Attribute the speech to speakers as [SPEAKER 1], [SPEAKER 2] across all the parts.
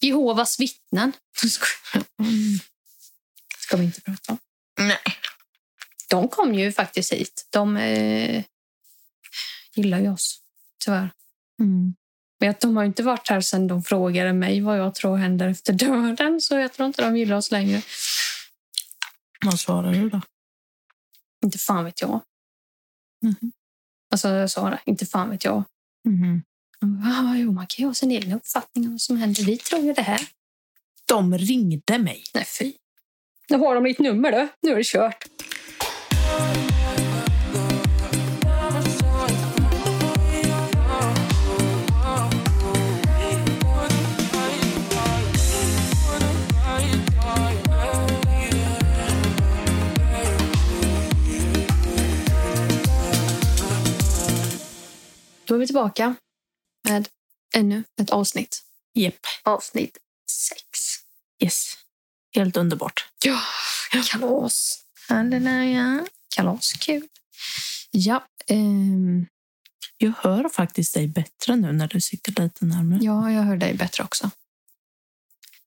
[SPEAKER 1] Jehovas vittnen. Mm. Ska vi inte prata om.
[SPEAKER 2] Nej.
[SPEAKER 1] De kom ju faktiskt hit. De eh, gillar ju oss, tyvärr. Mm. Men att de har ju inte varit här sedan de frågade mig vad jag tror händer efter döden. Så jag tror inte de gillar oss längre.
[SPEAKER 2] Vad svarar du då?
[SPEAKER 1] Inte fan vet jag.
[SPEAKER 2] Mhm.
[SPEAKER 1] Alltså jag sa det, inte fan vet jag. Mm-hmm. De bara, "Ah, jo, man kan ju ha sin egen uppfattning om vad som händer. Vi tror ju det här.
[SPEAKER 2] De ringde mig.
[SPEAKER 1] Nej, fy. Nu har de mitt nummer, då. Nu är det kört. Då är vi tillbaka med ännu ett avsnitt.
[SPEAKER 2] Jep.
[SPEAKER 1] Avsnitt sex.
[SPEAKER 2] Yes. Helt underbart.
[SPEAKER 1] Ja, kalas. Halleluja. Kalas, kul. Ja, ehm,
[SPEAKER 2] Jag hör faktiskt dig bättre nu när du sitter lite närmare.
[SPEAKER 1] ja, jag hör dig bättre också.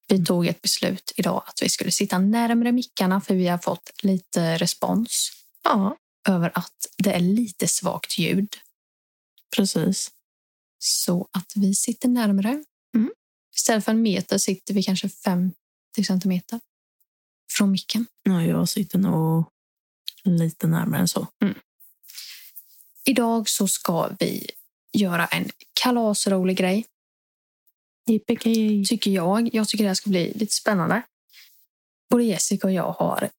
[SPEAKER 1] Vi tog ett beslut idag att vi skulle sitta närmare mickarna för vi har fått lite respons
[SPEAKER 2] Ja,
[SPEAKER 1] över att det är lite svagt ljud.
[SPEAKER 2] precis.
[SPEAKER 1] Så att vi sitter närmare.
[SPEAKER 2] Mm.
[SPEAKER 1] Istället för en meter sitter vi kanske 50 centimeter från micken.
[SPEAKER 2] Ja, jag sitter nog lite närmare än så.
[SPEAKER 1] Idag så ska vi göra en kalasrolig grej.
[SPEAKER 2] Yippee
[SPEAKER 1] tycker jag. Jag tycker det här ska bli lite spännande. Både Jessica och jag har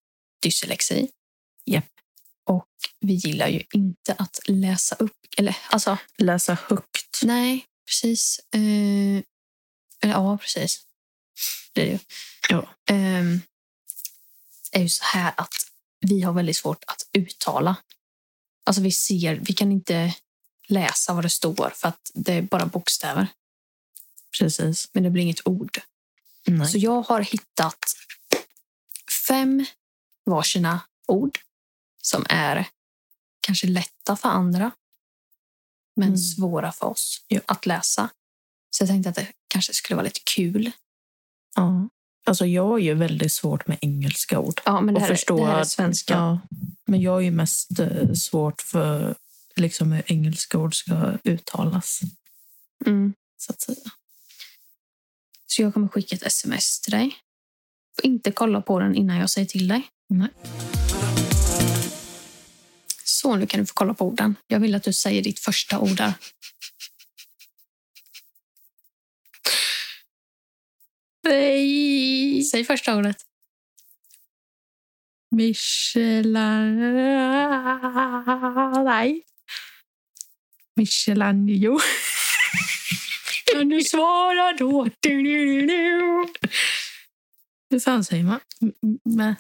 [SPEAKER 1] dyslexi.
[SPEAKER 2] Japp.
[SPEAKER 1] Och vi gillar ju inte att läsa upp. Eller alltså,
[SPEAKER 2] Läsa högt.
[SPEAKER 1] nej, precis. Eh, eller ja, precis. Det är det ju.
[SPEAKER 2] Ja.
[SPEAKER 1] Ehm, är ju så här att vi har väldigt svårt att uttala. Alltså vi ser, vi kan inte läsa vad det står för att det är bara bokstäver.
[SPEAKER 2] Precis.
[SPEAKER 1] Men det blir inget ord.
[SPEAKER 2] Nej.
[SPEAKER 1] Så jag har hittat fem varsina ord som är kanske lätta för andra men
[SPEAKER 2] Mm.
[SPEAKER 1] svåra för oss
[SPEAKER 2] Ja.
[SPEAKER 1] att läsa. Så jag tänkte att det kanske skulle vara lite kul.
[SPEAKER 2] Ja. Alltså jag är ju väldigt svårt med engelska ord.
[SPEAKER 1] Ja, men det,
[SPEAKER 2] Och
[SPEAKER 1] här, är-
[SPEAKER 2] förstå
[SPEAKER 1] det här är
[SPEAKER 2] att-
[SPEAKER 1] svenska.
[SPEAKER 2] Ja. Men jag är ju mest eh, svårt för liksom, hur engelska ord ska uttalas.
[SPEAKER 1] Mm.
[SPEAKER 2] Så att säga.
[SPEAKER 1] Så jag kommer skicka ett sms till dig. Och inte kolla på den innan jag säger till dig.
[SPEAKER 2] Nej.
[SPEAKER 1] Så, nu kan du få kolla på orden. Jag vill att du säger ditt första ord där.
[SPEAKER 2] Nej!
[SPEAKER 1] Säg första ordet.
[SPEAKER 2] Michelin... Nej. Michelangelo.
[SPEAKER 1] Kan du svara då? Du, du, du, du.
[SPEAKER 2] Hur fan säger man? M- m- med-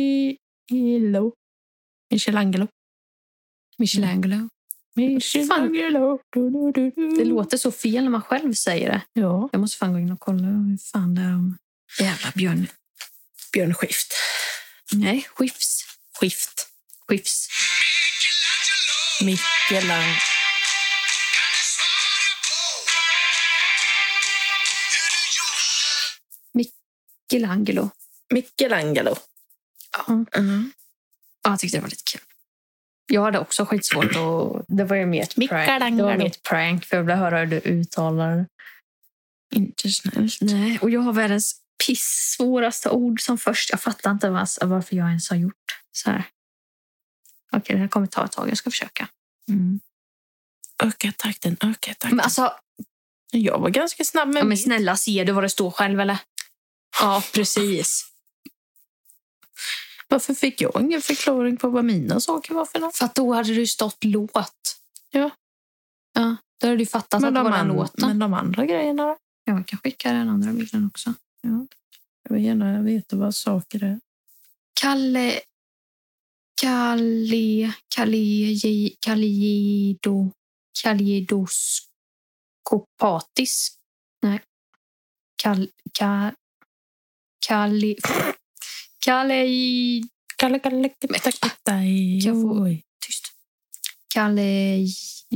[SPEAKER 2] Michelangelo. Michelangelo.
[SPEAKER 1] Michelangelo.
[SPEAKER 2] Michelangelo. Du, du, du, du.
[SPEAKER 1] Det låter så fel när man själv säger det.
[SPEAKER 2] Ja.
[SPEAKER 1] Jag måste fan gå in och kolla hur fan det är om... Jävla björn...
[SPEAKER 2] Björn Skift.
[SPEAKER 1] Nej, skifs.
[SPEAKER 2] Skift.
[SPEAKER 1] Skifs.
[SPEAKER 2] Michelangelo.
[SPEAKER 1] Michelangelo.
[SPEAKER 2] Michelangelo.
[SPEAKER 1] Ja. ja, jag tyckte det var lite kul. Mm. Jag hade också skitsvårt att... Det var ju mer ett prank. Det var mer
[SPEAKER 2] Michelangelo.
[SPEAKER 1] ett prank för jag ville höra hur du uttalar det.
[SPEAKER 2] Inte snällt.
[SPEAKER 1] Nej, och jag har världens pissvåraste ord som först. Jag fattar inte vars- varför jag ens har gjort så här. Okej, det här kommer ta ett tag. Jag ska försöka.
[SPEAKER 2] Mm. Öka takten, öka takten.
[SPEAKER 1] Men alltså,
[SPEAKER 2] jag var ganska snabb med
[SPEAKER 1] ja, men
[SPEAKER 2] min.
[SPEAKER 1] snälla, ser du vad det står själv eller? Ja, precis.
[SPEAKER 2] Varför fick jag ingen förklaring på vad mina saker var för något?
[SPEAKER 1] För att då hade du stått låt.
[SPEAKER 2] Ja.
[SPEAKER 1] Ja, då hade du
[SPEAKER 2] Alltså,
[SPEAKER 1] fattat att det var den låten.
[SPEAKER 2] men de andra grejerna då?
[SPEAKER 1] Jag kan skicka den andra bilden också.
[SPEAKER 2] Jag vill gärna veta vad saker är.
[SPEAKER 1] Kalle... Kalle... Kalle... Kallido... Kallidoskopatisk? Nej. Kall... Kall... Kalli... Kalli...
[SPEAKER 2] Kalle, kalle,
[SPEAKER 1] Men-
[SPEAKER 2] kalle, kalle,
[SPEAKER 1] Jag får-
[SPEAKER 2] Oj.
[SPEAKER 1] Tyst. Kallidoskopatisk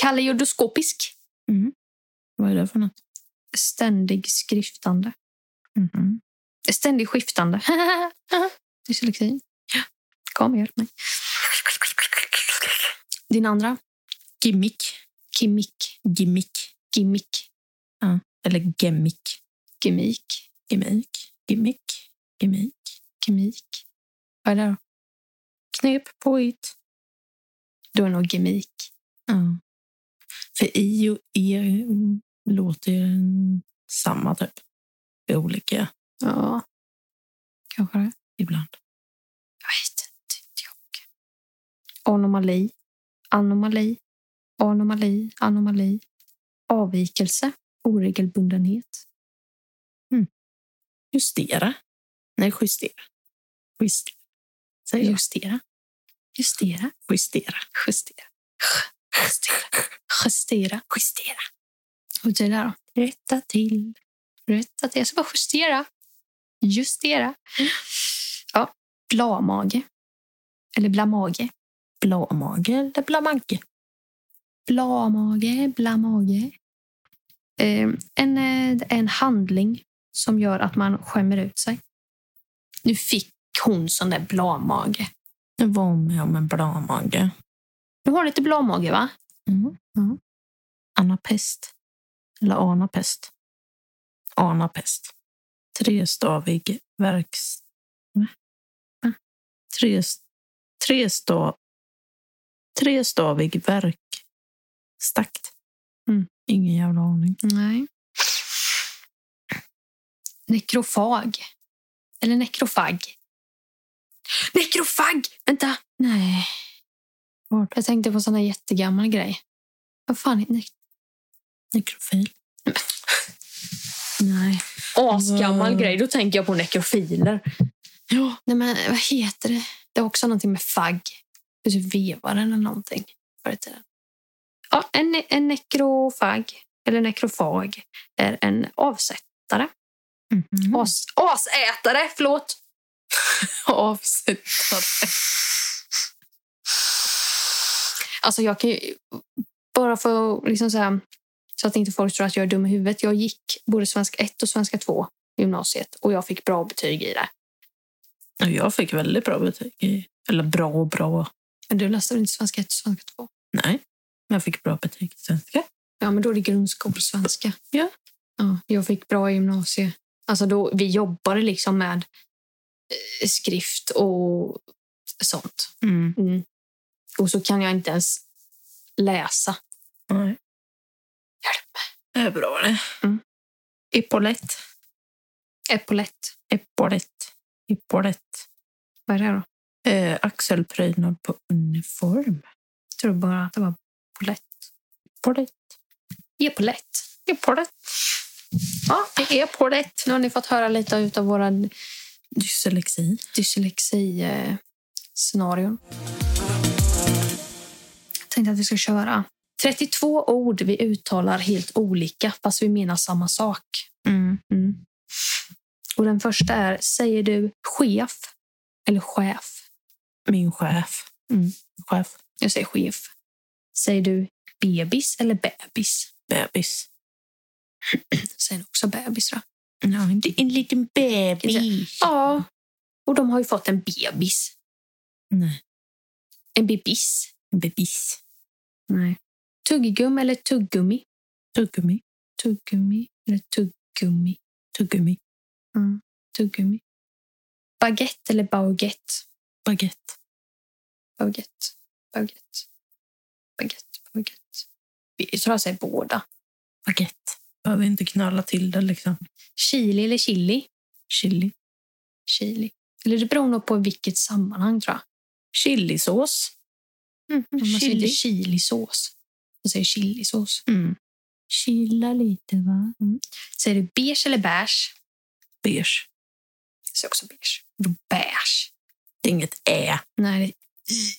[SPEAKER 1] Kaliodoskopisk. Kaliodoskopisk.
[SPEAKER 2] Vad är det för något?
[SPEAKER 1] Mm. Ständig skriftande.
[SPEAKER 2] Mhm.
[SPEAKER 1] Ständig skiftande. Dyslexi. Kom, hjälp mig. Din andra?
[SPEAKER 2] Gimmick.
[SPEAKER 1] Gimmick.
[SPEAKER 2] Gimmick.
[SPEAKER 1] Gimmick.
[SPEAKER 2] Eller gemmick.
[SPEAKER 1] Gimmick.
[SPEAKER 2] Gimmick. Gimmick. Gimmick.
[SPEAKER 1] Gimmick. Vad är det då?
[SPEAKER 2] Knep. Påhitt.
[SPEAKER 1] Då är det nog gimmick.
[SPEAKER 2] Ja. För i och e mm, låter ju mm, samma typ. Det är olika
[SPEAKER 1] Ja. Kanske det.
[SPEAKER 2] ibland.
[SPEAKER 1] Jag vet inte. inte Jag. Anomali. Anomali. Anomali. Anomali. Avvikelse. Oregelbundenhet.
[SPEAKER 2] Justera. Nej, justera. Justera. Säg då.
[SPEAKER 1] Justera. Justera.
[SPEAKER 2] Justera.
[SPEAKER 1] Justera. Justera. Justera.
[SPEAKER 2] Justera.
[SPEAKER 1] Och det där då?
[SPEAKER 2] Rätta till.
[SPEAKER 1] Rätt att jag ska bara justera. Justera.
[SPEAKER 2] Mm.
[SPEAKER 1] Ja. Blamage. Eller blamage.
[SPEAKER 2] Blamage eller blamanke.
[SPEAKER 1] Blamage, blamage. Eh, en, eh, en handling som gör att man skämmer ut sig. Nu fick hon sån där blamage.
[SPEAKER 2] Jag var med om en blamage.
[SPEAKER 1] Du har lite blamage, va? Ja.
[SPEAKER 2] Anapest. Eller anapest. Anapest. Trestavig verks... Va? Va? Tre, trestav, trestavig verkstakt.
[SPEAKER 1] Mm.
[SPEAKER 2] Ingen jävla aning.
[SPEAKER 1] Nej. Nekrofag. Eller nekrofag. Nekrofag! Vänta! Nej.
[SPEAKER 2] Vart?
[SPEAKER 1] Jag tänkte på sån här jättegammal grej. Vad fan är ne-
[SPEAKER 2] Nekrofil.
[SPEAKER 1] Nej. Asgammal
[SPEAKER 2] Mm.
[SPEAKER 1] grej. Då tänker jag på nekrofiler. Ja. Nej, men vad heter det? Det är också någonting med fagg. Det är typ Vevaren eller någonting. Förr i tiden. Ja, en, ne- en nekrofag, eller nekrofag, är en avsättare.
[SPEAKER 2] Mm.
[SPEAKER 1] As, asätare! Förlåt!
[SPEAKER 2] Avsättare.
[SPEAKER 1] Alltså jag kan ju, bara för att liksom så, här, så att inte folk tror att jag är dum i huvudet. Jag gick både svenska 1 och svenska 2 i gymnasiet och jag fick bra betyg i det.
[SPEAKER 2] Och Jag fick väldigt bra betyg. i- Eller bra och bra.
[SPEAKER 1] Men du läste väl inte svenska 1 och svenska 2?
[SPEAKER 2] Nej, men jag fick bra betyg i svenska.
[SPEAKER 1] Ja, men då är det grundskolesvenska.
[SPEAKER 2] Ja.
[SPEAKER 1] ja. Jag fick bra i gymnasiet. Alltså då, vi jobbade liksom med eh, skrift och sånt. Mm. Och så kan jag inte ens läsa.
[SPEAKER 2] Nej.
[SPEAKER 1] Hjälp
[SPEAKER 2] Det är bra det.
[SPEAKER 1] Mm.
[SPEAKER 2] Epaulett.
[SPEAKER 1] Epaulett.
[SPEAKER 2] Epaulett. Epaulett.
[SPEAKER 1] Vad är det då?
[SPEAKER 2] Eh, axelprydnad på uniform.
[SPEAKER 1] Jag tror bara att det var polett.
[SPEAKER 2] Epaulett.
[SPEAKER 1] Epaulett.
[SPEAKER 2] Epaulett.
[SPEAKER 1] Ja, det är polett. Nu har ni fått höra lite av våra
[SPEAKER 2] Dyslexi.
[SPEAKER 1] dyslexi-scenarion. Jag tänkte att vi ska köra 32 ord vi uttalar helt olika fast vi menar samma sak.
[SPEAKER 2] Mm.
[SPEAKER 1] Och den första är, säger du chef eller chef?
[SPEAKER 2] Min chef.
[SPEAKER 1] Mm.
[SPEAKER 2] Chef.
[SPEAKER 1] Jag säger chef. Säger du bebis eller bebis?
[SPEAKER 2] Bebis.
[SPEAKER 1] Säger också bebis då.
[SPEAKER 2] Ja, en, li- en liten bebis.
[SPEAKER 1] Ja, och de har ju fått en bebis.
[SPEAKER 2] Nej,
[SPEAKER 1] En bebis.
[SPEAKER 2] en bebis.
[SPEAKER 1] Nej. Tuggum eller tuggummi?
[SPEAKER 2] Tuggummi.
[SPEAKER 1] Tuggummi eller tuggummi?
[SPEAKER 2] Tuggummi.
[SPEAKER 1] Tuggummi. Baguette eller baguette?
[SPEAKER 2] Baguette.
[SPEAKER 1] Baguette. Baguette. Baguette. Baguette. Vi- Jag tror jag säger båda.
[SPEAKER 2] Baguette. Behöver inte knöla till det liksom.
[SPEAKER 1] Chili eller chili?
[SPEAKER 2] Chili.
[SPEAKER 1] Chili. Eller det beror nog på vilket sammanhang tror jag.
[SPEAKER 2] Chilisås.
[SPEAKER 1] Man säger inte chilisås. Man säger chilisås.
[SPEAKER 2] Mm.
[SPEAKER 1] Chilla lite va? Mm. Säger du beige eller beige?
[SPEAKER 2] Beige.
[SPEAKER 1] Jag säger också beige. Vadå beige?
[SPEAKER 2] Det är inget ä.
[SPEAKER 1] Nej, det är i.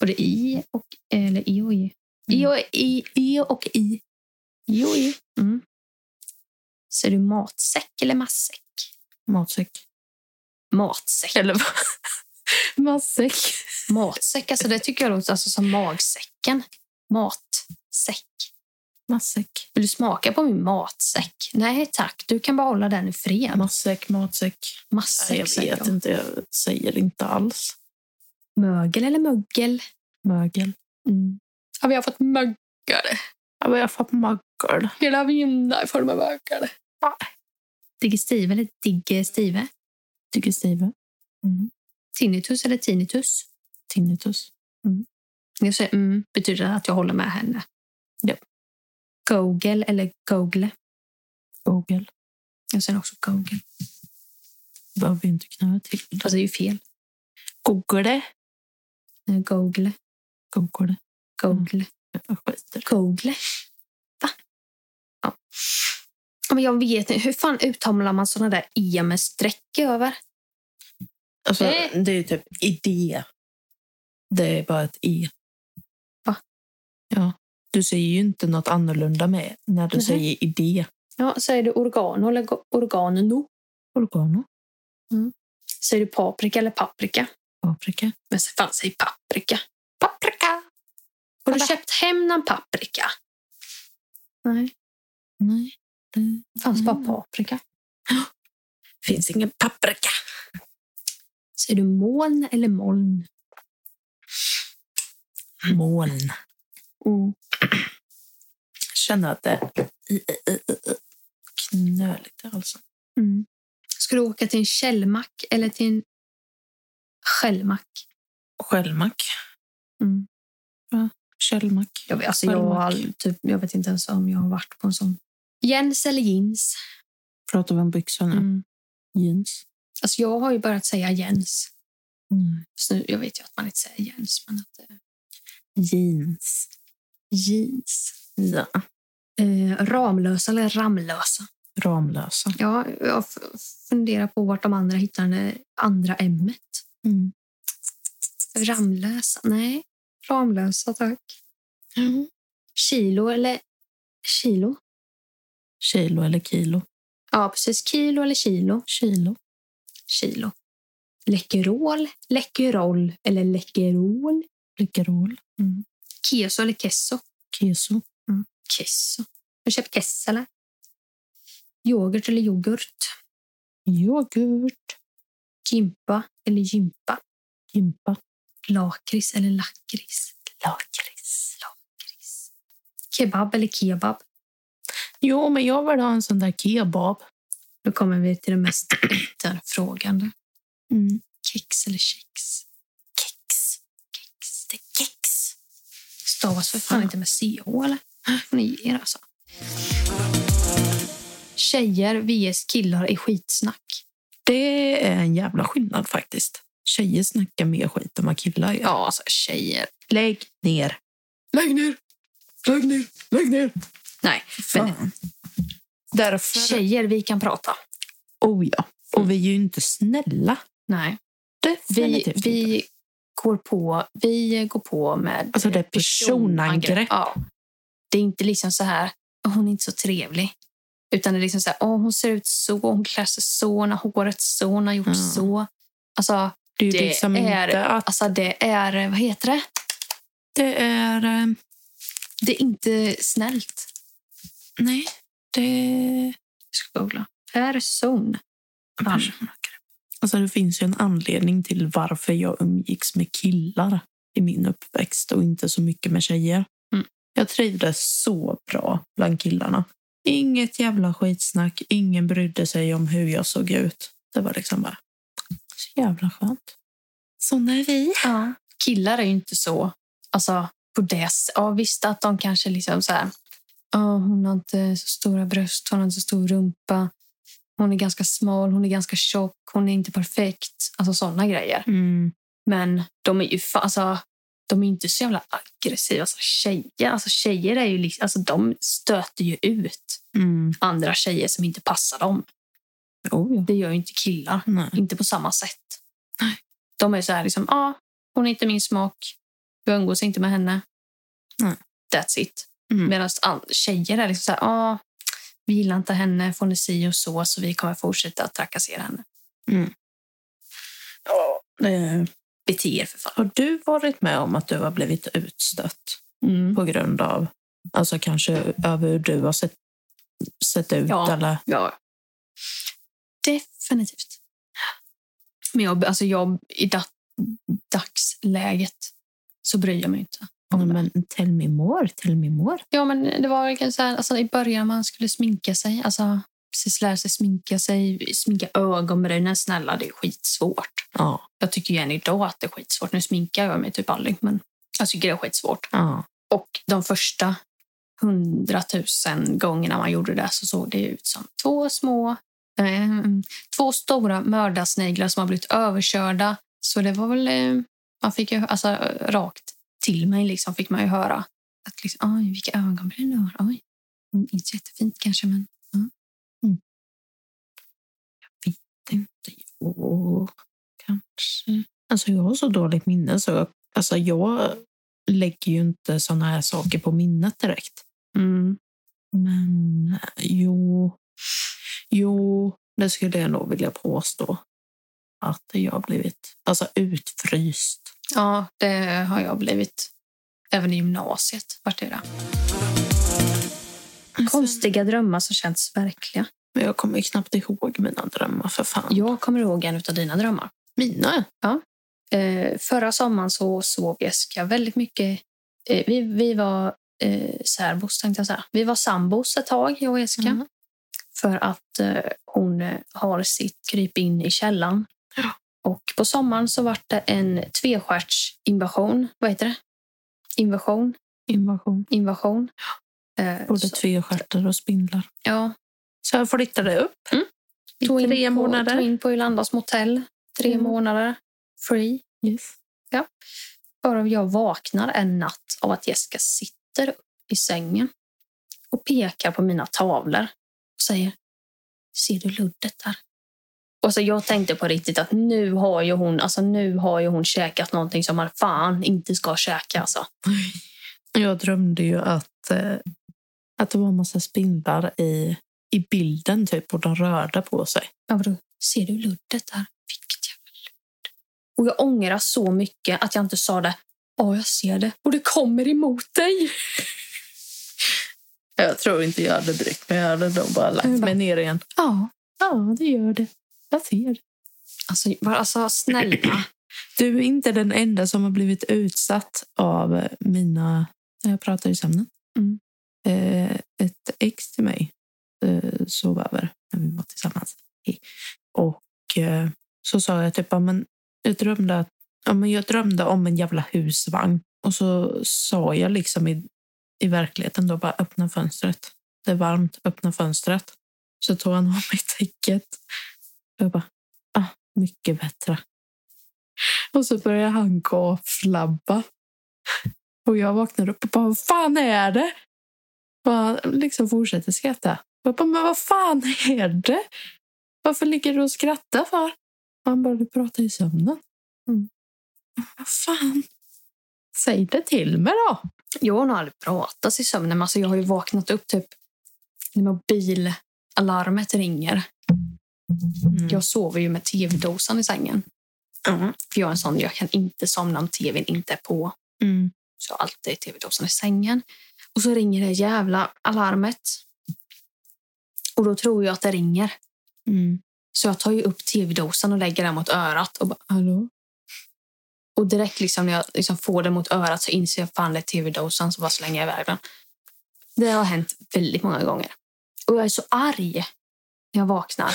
[SPEAKER 1] Både i och eller i och i. I
[SPEAKER 2] Mm.
[SPEAKER 1] och i. I och i. I och i. Mm. Så är du matsäck eller matsäck?
[SPEAKER 2] Matsäck.
[SPEAKER 1] Matsäck.
[SPEAKER 2] Eller vad? Matsäck.
[SPEAKER 1] Matsäck, alltså det tycker jag låter alltså, som magsäcken. Matsäck.
[SPEAKER 2] Matsäck.
[SPEAKER 1] Vill du smaka på min matsäck? Nej tack, du kan bara hålla den i fred.
[SPEAKER 2] Matsäck, matsäck. Nej,
[SPEAKER 1] Matsäck,
[SPEAKER 2] jag
[SPEAKER 1] säger
[SPEAKER 2] vet
[SPEAKER 1] jag.
[SPEAKER 2] inte, jag säger inte alls.
[SPEAKER 1] Mögel eller mögel?
[SPEAKER 2] Mögel.
[SPEAKER 1] Mm. Ja, vi har fått mögel.
[SPEAKER 2] Ja, men jag får mögel.
[SPEAKER 1] Hela vinda i form av mögel.
[SPEAKER 2] Ja.
[SPEAKER 1] Digestive eller digestive?
[SPEAKER 2] Tycker Steve. Mm.
[SPEAKER 1] Tinnitus eller tinnitus?
[SPEAKER 2] Tinnitus.
[SPEAKER 1] Jag säger mm, betyder det att jag håller med henne.
[SPEAKER 2] Ja.
[SPEAKER 1] Google eller Google?
[SPEAKER 2] Google.
[SPEAKER 1] Jag säger också Google.
[SPEAKER 2] Behöver vi inte knöa till.
[SPEAKER 1] Fast det är ju fel.
[SPEAKER 2] Google.
[SPEAKER 1] Eh, Google,
[SPEAKER 2] Google.
[SPEAKER 1] Google,
[SPEAKER 2] Jag skiter.
[SPEAKER 1] Google. Va? Ja. Ja, Men jag vet inte, hur fan uttalar man såna där e med streck över?
[SPEAKER 2] Alltså,
[SPEAKER 1] Nej.
[SPEAKER 2] det är typ idé. Det är bara ett i.
[SPEAKER 1] Va?
[SPEAKER 2] Ja. Du säger ju inte något annorlunda med när du
[SPEAKER 1] Mhm.
[SPEAKER 2] säger idé.
[SPEAKER 1] Ja, säger du organo eller go- organo?
[SPEAKER 2] Oregano,
[SPEAKER 1] Säger du paprika eller paprika?
[SPEAKER 2] paprika.
[SPEAKER 1] Men så fan, säg paprika. Paprika! Har du
[SPEAKER 2] Pappa.
[SPEAKER 1] köpt hem någon paprika? Nej,
[SPEAKER 2] Nej, det
[SPEAKER 1] det fanns
[SPEAKER 2] Mm.
[SPEAKER 1] bara paprika.
[SPEAKER 2] finns ingen paprika.
[SPEAKER 1] Säger du moln eller moln?
[SPEAKER 2] Moln.
[SPEAKER 1] Oh.
[SPEAKER 2] Känner att det i- i- i- i- i- knöl lite alltså.
[SPEAKER 1] Mm. Ska du åka till en källmack eller till en skällmack?
[SPEAKER 2] Skällmack.
[SPEAKER 1] Mm.
[SPEAKER 2] Källmack.
[SPEAKER 1] Jag, vet- alltså, jag, har
[SPEAKER 2] Skällmack.
[SPEAKER 1] all, typ, jag vet inte ens om jag har varit på en sån. Jens eller jeans?
[SPEAKER 2] Pratar vi om byxor nu?
[SPEAKER 1] Mm.
[SPEAKER 2] Jeans.
[SPEAKER 1] Alltså, jag har ju börjat säga Jens.
[SPEAKER 2] Mm.
[SPEAKER 1] Så nu, jag vet ju att man inte säger Jens. Men att, eh,
[SPEAKER 2] Jeans. Jeans. Ja.
[SPEAKER 1] eh, Ramlösa eller Ramlösa?
[SPEAKER 2] Ramlösa.
[SPEAKER 1] Ja, jag f- funderar på vart de andra hittar det andra m
[SPEAKER 2] Mm.
[SPEAKER 1] Ramlösa? Nej, Ramlösa tack.
[SPEAKER 2] Mm.
[SPEAKER 1] Kilo eller kilo?
[SPEAKER 2] Kilo eller kilo?
[SPEAKER 1] Ja, precis. Kilo eller kilo?
[SPEAKER 2] Kilo.
[SPEAKER 1] Kilo. Läckerol, läckerol eller läckerol?
[SPEAKER 2] Läckerol. Mm.
[SPEAKER 1] Keso eller kesso?
[SPEAKER 2] Keso.
[SPEAKER 1] Kesso. Har du köpt kesso eller? Yoghurt eller yoghurt?
[SPEAKER 2] Yoghurt.
[SPEAKER 1] Gimpa eller gympa?
[SPEAKER 2] Gimpa.
[SPEAKER 1] Lakrits eller lakrits?
[SPEAKER 2] Lakrits.
[SPEAKER 1] Lakrits. Kebab eller kebab?
[SPEAKER 2] Jo, men jag vill ha en sån där kebab.
[SPEAKER 1] Då kommer vi till den mest efterfrågande. Mm. Kex eller kex?
[SPEAKER 2] Kex.
[SPEAKER 1] Kex.
[SPEAKER 2] Det är kex.
[SPEAKER 1] Stavas för fan inte med ch eller? Får ni ge er alltså. Tjejer vs killar i skitsnack.
[SPEAKER 2] Det är en jävla skillnad faktiskt. Tjejer snackar mer skit än vad killar gör.
[SPEAKER 1] Ja, alltså tjejer.
[SPEAKER 2] Lägg ner. Lägg ner! Lägg ner! Lägg ner!
[SPEAKER 1] Nej, men
[SPEAKER 2] Fan. Därför...
[SPEAKER 1] tjejer vi kan prata.
[SPEAKER 2] Oh ja. Och vi är ju inte snälla.
[SPEAKER 1] Nej, vi,
[SPEAKER 2] Definitivt typ inte.
[SPEAKER 1] vi går på, vi går på med eh,
[SPEAKER 2] Alltså det är personangrepp.
[SPEAKER 1] Ja. Det är inte liksom så här, "Åh, hon är inte så trevlig. Utan det är liksom så här, "Åh, hon ser ut så, hon klär sig så, när håret så, hon har gjort
[SPEAKER 2] Ja.
[SPEAKER 1] så. Alltså,
[SPEAKER 2] Det är ju
[SPEAKER 1] det
[SPEAKER 2] liksom
[SPEAKER 1] är-
[SPEAKER 2] inte att
[SPEAKER 1] alltså det är, vad heter det?
[SPEAKER 2] det är... eh,
[SPEAKER 1] Det är inte snällt.
[SPEAKER 2] Nej, det...
[SPEAKER 1] Jag ska googla. Person. Fan.
[SPEAKER 2] Alltså det finns ju en anledning till varför jag umgicks med killar i min uppväxt och inte så mycket med tjejer.
[SPEAKER 1] Mm.
[SPEAKER 2] Jag trivdes så bra bland killarna. Inget jävla skitsnack, ingen brydde sig om hur jag såg ut. Det var liksom bara så jävla skönt. Såna är vi.
[SPEAKER 1] Ja. Killar är ju inte så, alltså på det s- Ja visst att de kanske liksom så här, "Ja, hon har inte så stora bröst, hon har inte så stor rumpa. Hon är ganska smal, hon är ganska tjock, hon är inte perfekt. Alltså sådana grejer. Men de är ju fa- alltså, de är inte så jävla aggressiva. Alltså, tjejer, alltså, tjejer är ju liksom, alltså, de stöter ju ut andra tjejer som inte passar dem.
[SPEAKER 2] Oh, ja.
[SPEAKER 1] Det gör ju inte killar.
[SPEAKER 2] Nej.
[SPEAKER 1] Inte på samma sätt. De är så här liksom, ja, ah, hon är inte min smak. Jag umgås inte med henne.
[SPEAKER 2] Nej.
[SPEAKER 1] That's it.
[SPEAKER 2] Mm.
[SPEAKER 1] Medan an- tjejer är liksom så här, ja, ah, vi gillar inte henne, får ni si och så, så vi kommer fortsätta att trakassera henne.
[SPEAKER 2] Ja, Eh, det är
[SPEAKER 1] Bete er för fan.
[SPEAKER 2] Har du varit med om att du har blivit utstött
[SPEAKER 1] Mm.
[SPEAKER 2] på grund av, alltså kanske över hur du har sett, sett ut?
[SPEAKER 1] Ja.
[SPEAKER 2] Eller?
[SPEAKER 1] Ja. Definitivt. Men jag, alltså jag, i da, dagsläget så bryr jag mig inte.
[SPEAKER 2] Ja, men tell me more, tell me more.
[SPEAKER 1] Ja, men det var väl kanske så här, alltså, i början man skulle sminka sig. Alltså, precis lära sig sminka sig, sminka ögonbrynen. Snälla, det är skitsvårt.
[SPEAKER 2] Ja,
[SPEAKER 1] Jag tycker ju än idag att det är skitsvårt. Nu sminkar jag mig typ aldrig, men jag tycker det är skitsvårt.
[SPEAKER 2] ja.
[SPEAKER 1] Och de första hundratusen gångerna man gjorde det så såg det ut som två små, eh, två stora mördarsniglar som har blivit överkörda. Så det var väl, eh, man fick ju, alltså eh, rakt till mig liksom fick man ju höra. Att liksom, oj, vilka ögonbryn du har. Oj, Mm, inte jättefint kanske, men
[SPEAKER 2] Tänkte jag
[SPEAKER 1] mm."
[SPEAKER 2] kanske. Alltså jag har så dåligt minne så jag, alltså jag lägger ju inte sådana här saker på minnet direkt.
[SPEAKER 1] Mm.
[SPEAKER 2] Men jo, jo, det skulle jag nog vilja påstå. Att jag har blivit alltså utfryst.
[SPEAKER 1] ja, det har jag blivit. Även i gymnasiet vart det det.
[SPEAKER 2] Alltså-
[SPEAKER 1] Konstiga drömmar som känns verkliga.
[SPEAKER 2] Men jag kommer ju knappt ihåg mina drömmar för fan.
[SPEAKER 1] Jag kommer ihåg en av dina drömmar.
[SPEAKER 2] Mina?
[SPEAKER 1] Eh, förra sommaren så sov Jessica väldigt mycket. Eh, vi, vi var eh, särbos, tänkte jag säga. Vi var sambos ett tag, jag och Jessica.
[SPEAKER 2] Mhm.
[SPEAKER 1] För att eh, hon eh, har sitt kryp in i källan.
[SPEAKER 2] Ja.
[SPEAKER 1] Och på sommaren så var det en tvestjärtsinvasion. Vad heter det? Invasion?
[SPEAKER 2] Invasion.
[SPEAKER 1] Invasion? Eh,
[SPEAKER 2] Både
[SPEAKER 1] så-
[SPEAKER 2] tvestjärtar och spindlar.
[SPEAKER 1] ja,
[SPEAKER 2] Alltså. Så jag flyttade upp.
[SPEAKER 1] Mm.
[SPEAKER 2] I
[SPEAKER 1] tog in
[SPEAKER 2] tre
[SPEAKER 1] på,
[SPEAKER 2] månader.
[SPEAKER 1] Tog in på Ylandas motell. Tre
[SPEAKER 2] Mm.
[SPEAKER 1] månader. Free.
[SPEAKER 2] Yes.
[SPEAKER 1] Varav jag vaknar en natt av att Jessica sitter upp i sängen och pekar på mina tavlor och säger Ser du luddet där? Och så jag tänkte på riktigt att nu har ju hon, alltså nu har ju hon käkat någonting som man fan inte ska käka. Alltså.
[SPEAKER 2] Jag drömde ju att, eh, att det var en massa spindlar i, i bilden typ och de rörde på sig.
[SPEAKER 1] Jag bara, ser du luddet där? Vilket jävla ludd. Och jag ångrar så mycket att jag inte sa det. Ja, jag ser det. Och det kommer emot dig.
[SPEAKER 2] Jag tror inte jag hade brytt mig. Jag hade nog bara
[SPEAKER 1] Mm.
[SPEAKER 2] lagt mig ner igen.
[SPEAKER 1] Ja.
[SPEAKER 2] Ja, det gör det. Jag ser det.
[SPEAKER 1] Alltså, bara- alltså snälla.
[SPEAKER 2] Du är inte den enda som har blivit utsatt av eh, mina... Jag pratar i sömnen.
[SPEAKER 1] Mm.
[SPEAKER 2] Eh, ett ex till mig eh, sov över när vi var tillsammans. Hej. Och eh, så sa jag typ, ja, men jag drömde, att, ja, men jag drömde om en jävla husvagn. Och så sa jag liksom i, i verkligheten då bara öppna fönstret. Det är varmt, öppna fönstret. Så tog han av mig täcket. Och jag bara, ah, mycket bättre. Och så började han gå och flabba. Och jag vaknar upp och bara, vad fan är det? Och han liksom fortsätter skratta. Och jag bara, men vad fan är det? Varför ligger du och skrattar för? Och han bara, du pratar i sömnen.
[SPEAKER 1] Mm.
[SPEAKER 2] Jag bara, Vad fan? Säg det till mig då.
[SPEAKER 1] Jag har nog aldrig pratat i sömnen, men alltså jag har ju vaknat upp typ när mobilalarmet ringer.
[SPEAKER 2] Mm.
[SPEAKER 1] Jag sover ju med tv-dosan i sängen.
[SPEAKER 2] Ja.
[SPEAKER 1] För jag är en sån, jag kan inte somna om tvn inte är på.
[SPEAKER 2] Mm.
[SPEAKER 1] Så jag har alltid tv-dosan i sängen. Och så ringer det jävla alarmet. Och då tror jag att det ringer.
[SPEAKER 2] Mm.
[SPEAKER 1] Så jag tar ju upp tv-dosan och lägger den mot örat. Och, bara,
[SPEAKER 2] Hallå?
[SPEAKER 1] och direkt liksom när jag liksom får den mot örat så inser jag fan det är tv-dosan. Så bara slänger jag iväg den. Det har hänt väldigt många gånger. Och jag är så arg när jag vaknar.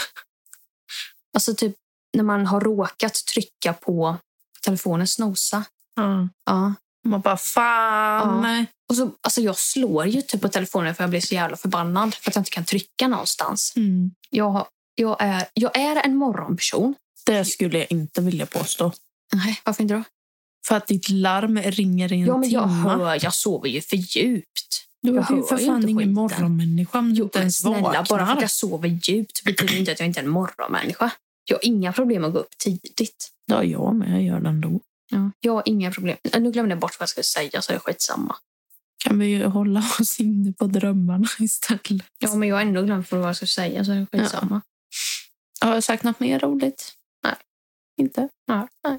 [SPEAKER 1] Alltså typ när man har råkat trycka på telefonen snosa.
[SPEAKER 2] Ja.
[SPEAKER 1] Ja.
[SPEAKER 2] Man bara, fan.
[SPEAKER 1] Ja.
[SPEAKER 2] nej.
[SPEAKER 1] Och så, alltså jag slår ju typ på telefonen för jag blir så jävla förbannad för att jag inte kan trycka någonstans.
[SPEAKER 2] Mm.
[SPEAKER 1] Jag, jag, är, jag är en morgonperson.
[SPEAKER 2] Det skulle jag inte vilja påstå.
[SPEAKER 1] Nej, varför inte då?
[SPEAKER 2] För att ditt larm ringer i en
[SPEAKER 1] Ja, men jag
[SPEAKER 2] timma.
[SPEAKER 1] hör, jag sover ju för djupt.
[SPEAKER 2] Du
[SPEAKER 1] Jag
[SPEAKER 2] är ju
[SPEAKER 1] hör
[SPEAKER 2] för
[SPEAKER 1] ju
[SPEAKER 2] fan
[SPEAKER 1] inte
[SPEAKER 2] ingen
[SPEAKER 1] skiten.
[SPEAKER 2] morgonmänniska om du
[SPEAKER 1] Jo,
[SPEAKER 2] inte
[SPEAKER 1] men
[SPEAKER 2] ens
[SPEAKER 1] snälla,
[SPEAKER 2] vaknar.
[SPEAKER 1] bara för att jag sover djupt betyder inte att jag inte är en morgonmänniska. Jag har inga problem att gå upp tidigt.
[SPEAKER 2] Ja, jag med. Jag gör det ändå.
[SPEAKER 1] Jag har inga problem. Äh, Nu glömde jag bort vad jag skulle säga så det är skitsamma.
[SPEAKER 2] Kan vi ju hålla oss inne på drömmarna istället?
[SPEAKER 1] Ja, men jag har ändå glömt vad jag skulle säga så det är skitsamma.
[SPEAKER 2] Har jag sagt något mer roligt?
[SPEAKER 1] Nej.
[SPEAKER 2] Inte?
[SPEAKER 1] Ja.
[SPEAKER 2] Nej.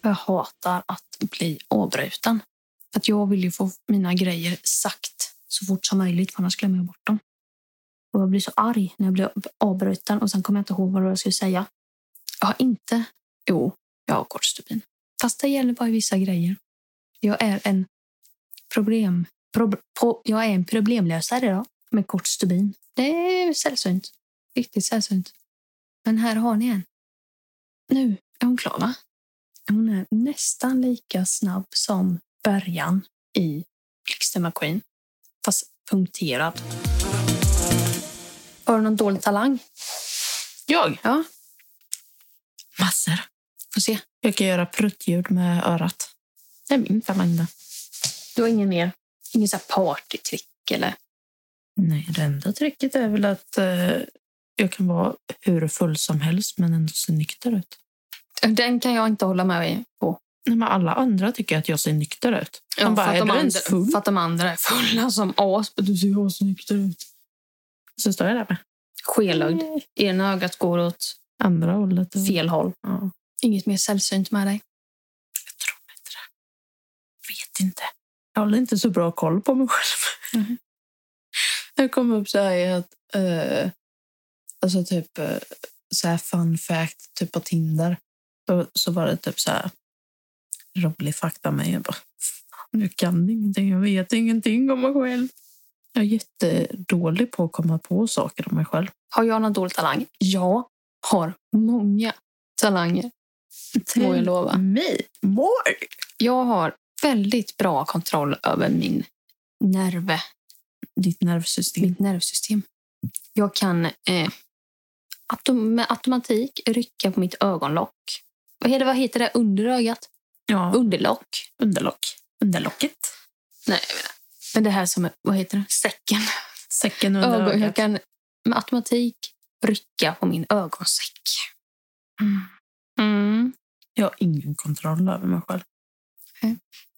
[SPEAKER 1] Jag hatar att bli avbruten. Att jag vill ju få mina grejer sagt så fort som möjligt, för annars glömmer jag bort dem. Och jag blir så arg när jag blir avbruten och sen kommer jag inte ihåg vad jag skulle säga. Jag har inte... Jo, jag har kortstubin. Fast det gäller bara i vissa grejer. Jag är en problem... Prob, på, jag är en problemlösare idag med kort stubin. Det är sällsynt. Riktigt sällsynt. Men här har ni en. Nu är hon klar, va? Hon är nästan lika snabb som början i Blixten fast punkterad. Har du någon dålig talang?
[SPEAKER 2] Jag?
[SPEAKER 1] Ja.
[SPEAKER 2] Massor.
[SPEAKER 1] Får se.
[SPEAKER 2] Jag kan göra pruttljud med örat. Det är min talang det.
[SPEAKER 1] Du har ingen mer? Ingen så här partytrick eller?
[SPEAKER 2] Nej, det enda tricket är väl att eh, jag kan vara hur full som helst men ändå se nykter ut.
[SPEAKER 1] Den kan jag inte hålla med på.
[SPEAKER 2] Nej, men alla andra tycker att jag ser nykter ut. De
[SPEAKER 1] Ja,
[SPEAKER 2] bara,
[SPEAKER 1] för, att
[SPEAKER 2] är
[SPEAKER 1] de
[SPEAKER 2] du ens
[SPEAKER 1] andra,
[SPEAKER 2] full?
[SPEAKER 1] för att de andra är fulla som as. Men Du ser asnykter ut.
[SPEAKER 2] Så står jag där med. Mm.
[SPEAKER 1] Skelögd. Ena ögat går åt
[SPEAKER 2] Andra hållet. och-
[SPEAKER 1] fel håll.
[SPEAKER 2] Ja.
[SPEAKER 1] Inget mer sällsynt med dig.
[SPEAKER 2] Jag tror inte det. Vet inte. Jag håller inte så bra koll på mig själv.
[SPEAKER 1] Mhm.
[SPEAKER 2] Jag kom upp så här i att... eh, alltså typ eh, så här fun fact typ på Tinder. Då, så var det typ så här rolig fakta med. Jag bara, "Fan, jag kan ingenting. Jag vet ingenting om mig själv. Jag är jättedålig på att komma på saker om mig själv.
[SPEAKER 1] Har jag någon dålig talang? Jag har många talanger. Må jag lova.
[SPEAKER 2] Mig? More?
[SPEAKER 1] Jag har väldigt bra kontroll över min nerve.
[SPEAKER 2] Ditt nervsystem.
[SPEAKER 1] mitt nervsystem. Jag kan eh, autom med automatik rycka på mitt ögonlock. Vad heter, vad heter det under ögat?
[SPEAKER 2] Ja,
[SPEAKER 1] Underlock.
[SPEAKER 2] underlock. Underlocket.
[SPEAKER 1] Nej, jag menar. Men det här som är, vad heter det? Säcken.
[SPEAKER 2] Säcken under
[SPEAKER 1] Ögon,
[SPEAKER 2] ögat.
[SPEAKER 1] jag kan med automatik rycka på min ögonsäck. Mm.
[SPEAKER 2] Jag har ingen kontroll över mig själv.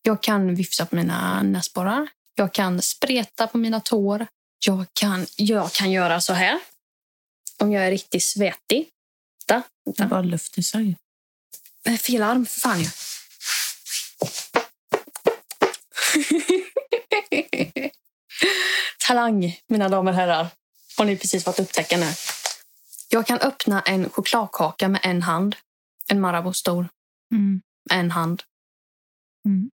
[SPEAKER 1] Jag kan vifta på mina näsborrar. Jag kan spreta på mina tår. Jag kan, jag kan göra så här. Om jag är riktigt svettig. Vänta,
[SPEAKER 2] Det
[SPEAKER 1] vänta.
[SPEAKER 2] är bara luft i sig.
[SPEAKER 1] Nej, Eh, fel arm för fan ju. Talang, mina damer och herrar. Har ni precis fått upptäcka nu. Jag kan öppna en chokladkaka med en hand. En Marabou stor med en hand.
[SPEAKER 2] Mm.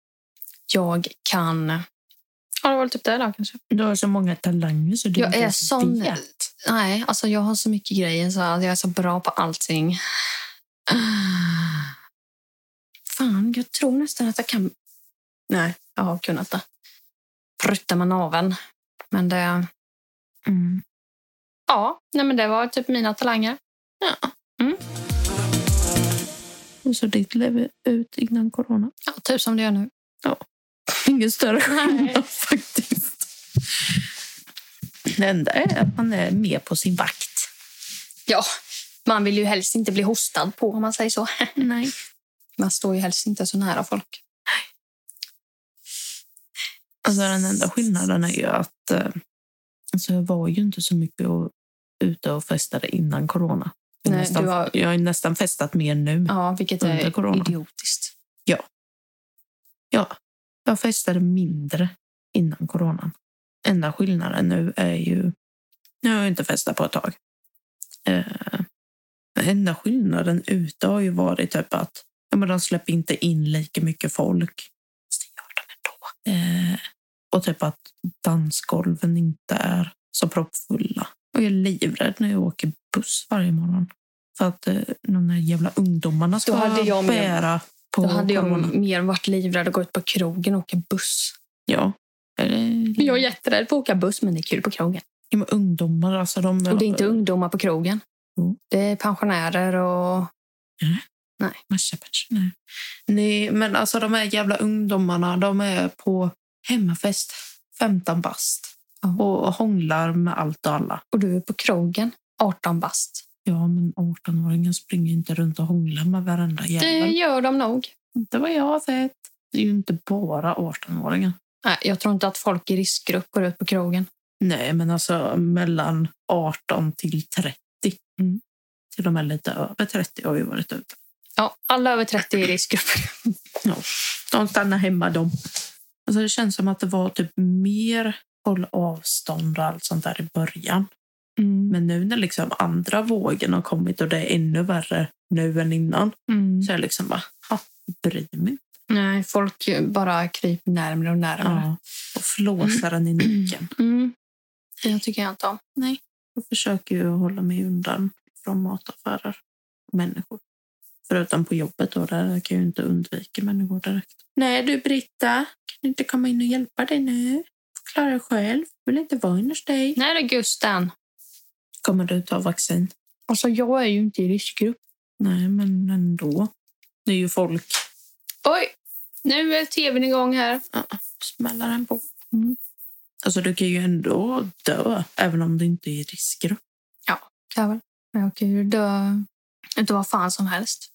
[SPEAKER 1] Jag kan... Ja, det var väl typ det där kanske.
[SPEAKER 2] Du har så många talanger så du
[SPEAKER 1] Jag
[SPEAKER 2] inte
[SPEAKER 1] är
[SPEAKER 2] ens
[SPEAKER 1] sån-
[SPEAKER 2] vet.
[SPEAKER 1] Nej, alltså jag har så mycket grejer så att jag är så bra på allting. Fan, jag tror nästan att jag kan... Nej, jag har kunnat det. Prutta med naveln. Men det... Mm. Ja, nej men det var typ mina talanger.
[SPEAKER 2] Hur såg ditt liv ut innan corona?
[SPEAKER 1] Ja, typ som det gör nu.
[SPEAKER 2] Ingen större
[SPEAKER 1] Nej.
[SPEAKER 2] skillnad faktiskt. Det enda är att man är mer på sin vakt.
[SPEAKER 1] Ja, man vill ju helst inte bli hostad på om man säger så.
[SPEAKER 2] Nej.
[SPEAKER 1] Man står ju helst inte så nära folk.
[SPEAKER 2] Alltså den enda skillnaden är ju att eh, alltså, jag var ju inte så mycket och, ute och festade innan corona. Jag,
[SPEAKER 1] Nej,
[SPEAKER 2] nästan,
[SPEAKER 1] du har-
[SPEAKER 2] jag har ju nästan festat mer nu.
[SPEAKER 1] Ja, vilket
[SPEAKER 2] Under
[SPEAKER 1] är
[SPEAKER 2] corona.
[SPEAKER 1] idiotiskt.
[SPEAKER 2] Ja, jag festade mindre innan coronan. Enda skillnaden nu är ju... Nu har jag inte festat på ett tag. Eh, men enda skillnaden ute har ju varit typ att ja, men de släpper inte in lika mycket folk. Fast det gör de ändå. Eh, och typ att dansgolven inte är så proppfulla. Och jag är livrädd när jag åker buss varje morgon. För att eh, de där jävla ungdomarna ska
[SPEAKER 1] hade jag med-
[SPEAKER 2] bära på
[SPEAKER 1] Då hade jag
[SPEAKER 2] coronan.
[SPEAKER 1] mer varit livrädd att gå ut på krogen och åka buss.
[SPEAKER 2] Ja. Eller,
[SPEAKER 1] Jag är jätterädd för att åka buss, men det är kul på krogen.
[SPEAKER 2] Ja, men ungdomar, alltså de...
[SPEAKER 1] Och det Mm. är inte ungdomar på krogen.
[SPEAKER 2] Jo.
[SPEAKER 1] Det är pensionärer och...
[SPEAKER 2] Massa personer. Nej, men alltså de här jävla ungdomarna, de är på hemmafest, 15 bast.
[SPEAKER 1] Ja.
[SPEAKER 2] Och hånglar med allt och alla.
[SPEAKER 1] Och du är på krogen, 18 bast.
[SPEAKER 2] Ja, men 18-åringen springer inte runt och hånglar med varenda
[SPEAKER 1] Det
[SPEAKER 2] jävel.
[SPEAKER 1] gör de nog.
[SPEAKER 2] Inte vad jag har sett. Det är ju inte bara 18-åringar.
[SPEAKER 1] Nej, jag tror inte att folk i riskgrupp går ut på krogen.
[SPEAKER 2] Nej, men alltså mellan 18 till 30.
[SPEAKER 1] Mm.
[SPEAKER 2] Till och med lite över 30 har vi varit ute.
[SPEAKER 1] Ja, alla över 30 är i riskgruppen.
[SPEAKER 2] De stannar hemma de. Alltså det känns som att det var typ mer håll avstånd och allt sånt där i början.
[SPEAKER 1] Mm.
[SPEAKER 2] Men nu när liksom andra vågen har kommit och det är ännu värre nu än innan
[SPEAKER 1] Mm.
[SPEAKER 2] så är jag liksom bara, ha, bryr mig inte.
[SPEAKER 1] Nej, folk bara kryper närmare och närmare.
[SPEAKER 2] Ja. Och flåsar den i nacken.
[SPEAKER 1] Mm. Jag tycker inte om.
[SPEAKER 2] Jag försöker ju hålla mig undan från mataffärer och människor. Förutom på jobbet då, där kan jag ju inte undvika människor direkt. Nej du Britta, kan du inte komma in och hjälpa dig nu? Klara dig själv, vill inte vara inne hos dig.
[SPEAKER 1] När är Gusten?
[SPEAKER 2] Kommer du ta vaccin?
[SPEAKER 1] Alltså, jag är ju inte i riskgrupp.
[SPEAKER 2] Nej, men ändå. Det är ju folk.
[SPEAKER 1] Oj! Nu är tvn igång här.
[SPEAKER 2] Smäller den på.
[SPEAKER 1] Mm.
[SPEAKER 2] Alltså du kan ju ändå dö, även om du inte är i riskgrupp.
[SPEAKER 1] Kan jag väl. Men jag kan ju dö inte vad fan som helst.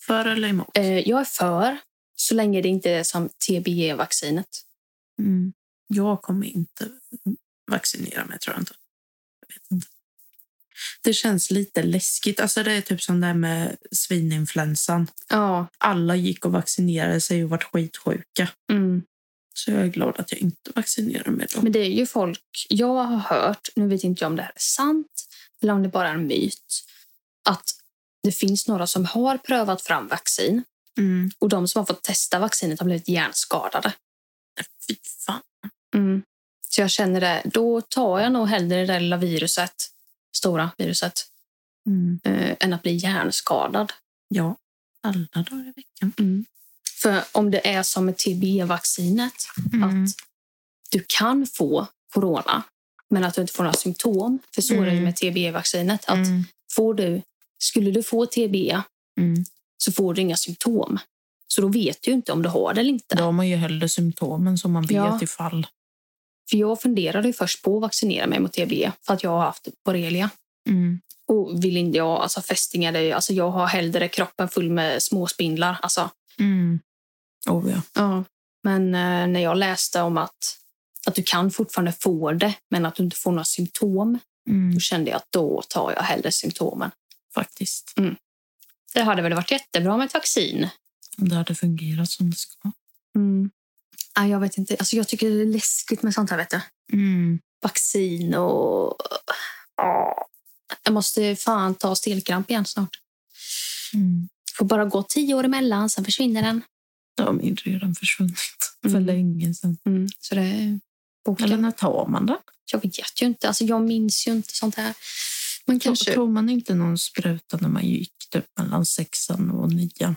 [SPEAKER 2] För eller emot?
[SPEAKER 1] Eh, jag är för, så länge det inte är som TBE-vaccinet.
[SPEAKER 2] Mm. Jag kommer inte vaccinera mig, tror jag inte. Jag vet inte. Det känns lite läskigt. Alltså det är typ som det här med svininfluensan.
[SPEAKER 1] Ja.
[SPEAKER 2] Alla gick och vaccinerade sig och vart skitsjuka.
[SPEAKER 1] Mm.
[SPEAKER 2] Så jag är glad att jag inte vaccinerar mig då.
[SPEAKER 1] Men det är ju folk... Jag har hört, nu vet inte jag om det här är sant eller om det bara är en myt, att det finns några som har prövat fram vaccin
[SPEAKER 2] Mm.
[SPEAKER 1] och de som har fått testa vaccinet har blivit hjärnskadade.
[SPEAKER 2] Fy fan.
[SPEAKER 1] Mm. Så jag känner det, då tar jag nog hellre det där lilla viruset, stora viruset,
[SPEAKER 2] Mm.
[SPEAKER 1] eh, än att bli hjärnskadad.
[SPEAKER 2] Ja, alla dagar i veckan.
[SPEAKER 1] För om det är som med TBE-vaccinet,
[SPEAKER 2] Mm.
[SPEAKER 1] att du kan få corona men att du inte får några symptom. För så är det ju
[SPEAKER 2] Mm.
[SPEAKER 1] med TBE-vaccinet. Att
[SPEAKER 2] Mm.
[SPEAKER 1] får du, skulle du få TBE
[SPEAKER 2] Mm.
[SPEAKER 1] så får du inga symptom. Så då vet du ju inte om du har det eller inte.
[SPEAKER 2] Då har man ju hellre symptomen som man vet
[SPEAKER 1] Ja.
[SPEAKER 2] ifall.
[SPEAKER 1] För jag funderade ju först på att vaccinera mig mot TBE för att jag har haft borrelia. Och vill inte jag, alltså fästingar, det är ju- alltså jag har hellre kroppen full med små spindlar. Alltså,
[SPEAKER 2] Mm. Oh, ja.
[SPEAKER 1] Men eh, när jag läste om att, att du kan fortfarande få det men att du inte får några symptom, då kände jag att då tar jag hellre symptomen.
[SPEAKER 2] Faktiskt.
[SPEAKER 1] Det hade väl varit jättebra med ett vaccin?
[SPEAKER 2] Om det hade fungerat som det ska.
[SPEAKER 1] Nej, Mm. jag vet inte. Alltså, jag tycker det är läskigt med sånt här. Vet du. Vaccin och... Ja. Jag måste fan ta stelkramp igen snart. Får bara gå tio år emellan, sen försvinner den.
[SPEAKER 2] De är ju redan försvunnit för
[SPEAKER 1] Mm.
[SPEAKER 2] länge sedan.
[SPEAKER 1] Så det är boken.
[SPEAKER 2] Eller när tar man den?
[SPEAKER 1] Jag vet ju inte. Alltså, jag minns ju inte sånt här. Man kanske...
[SPEAKER 2] Tog man inte någon spruta när man gick typ mellan sexan och nian?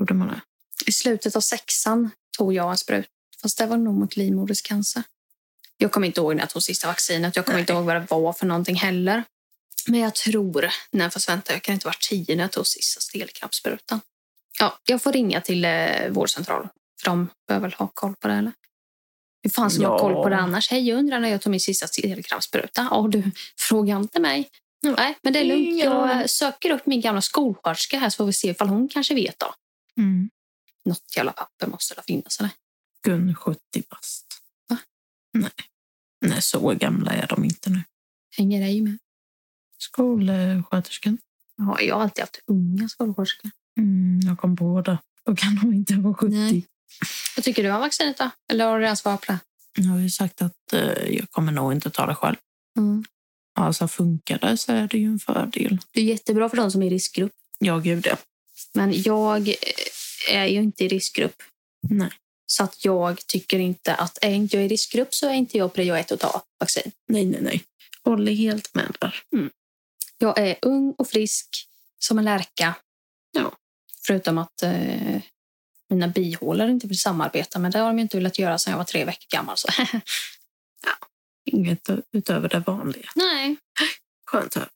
[SPEAKER 2] Gjorde man det?
[SPEAKER 1] I slutet av sexan tog jag en sprut. Fast det var nog mot livmodercancer. Jag kommer inte ihåg när jag tog sista vaccinet. Jag kommer
[SPEAKER 2] Nej.
[SPEAKER 1] inte ihåg vad det var för någonting heller. Men jag tror, nej fast vänta, jag kan inte vara tio när jag tog sista stelkrampssprutan. Ja, jag får ringa till eh, vårdcentralen. För de bör väl ha koll på det eller? Hur fan ska man ha
[SPEAKER 2] Ja.
[SPEAKER 1] koll på det annars? Hej, jag undrar när jag tog min sista stelkrampsspruta. Ja, du, fråga inte mig.
[SPEAKER 2] Mm.
[SPEAKER 1] Nej, men det är lugnt.
[SPEAKER 2] Ingen
[SPEAKER 1] Jag eh,
[SPEAKER 2] aning.
[SPEAKER 1] söker upp min gamla skolsköterska här så får vi se ifall hon kanske vet då något jävla papper måste det finnas. Eller?
[SPEAKER 2] Gun 70 bast.
[SPEAKER 1] Va?
[SPEAKER 2] Nej. Nej, så gamla är de inte nu.
[SPEAKER 1] Hänger dig med?
[SPEAKER 2] Skolsköterskan.
[SPEAKER 1] Ja, jag har alltid haft unga skolsköterskor.
[SPEAKER 2] Mm, jag kom på det. Då kan de inte vara 70.
[SPEAKER 1] Nej. Vad tycker du om vaccinet då? Eller har du redan svarat på det?
[SPEAKER 2] Jag har ju sagt att eh, jag kommer nog inte ta det själv. Alltså funkar det så är det ju en fördel.
[SPEAKER 1] Mm. Det är jättebra för de som är i riskgrupp.
[SPEAKER 2] Ja, gud ja.
[SPEAKER 1] Men jag eh, är ju inte i riskgrupp.
[SPEAKER 2] Nej.
[SPEAKER 1] Så att jag tycker inte att är inte jag i riskgrupp så är inte jag prio ett att ta vaccin.
[SPEAKER 2] Nej, nej, nej. Håller helt med där.
[SPEAKER 1] Jag är ung och frisk som en lärka.
[SPEAKER 2] Ja.
[SPEAKER 1] Förutom att eh, mina bihålor inte vill samarbeta. Men det har de ju inte velat göra sedan jag var tre veckor gammal. Så.
[SPEAKER 2] Inget ö- utöver det vanliga.
[SPEAKER 1] Nej,
[SPEAKER 2] Skönt att höra.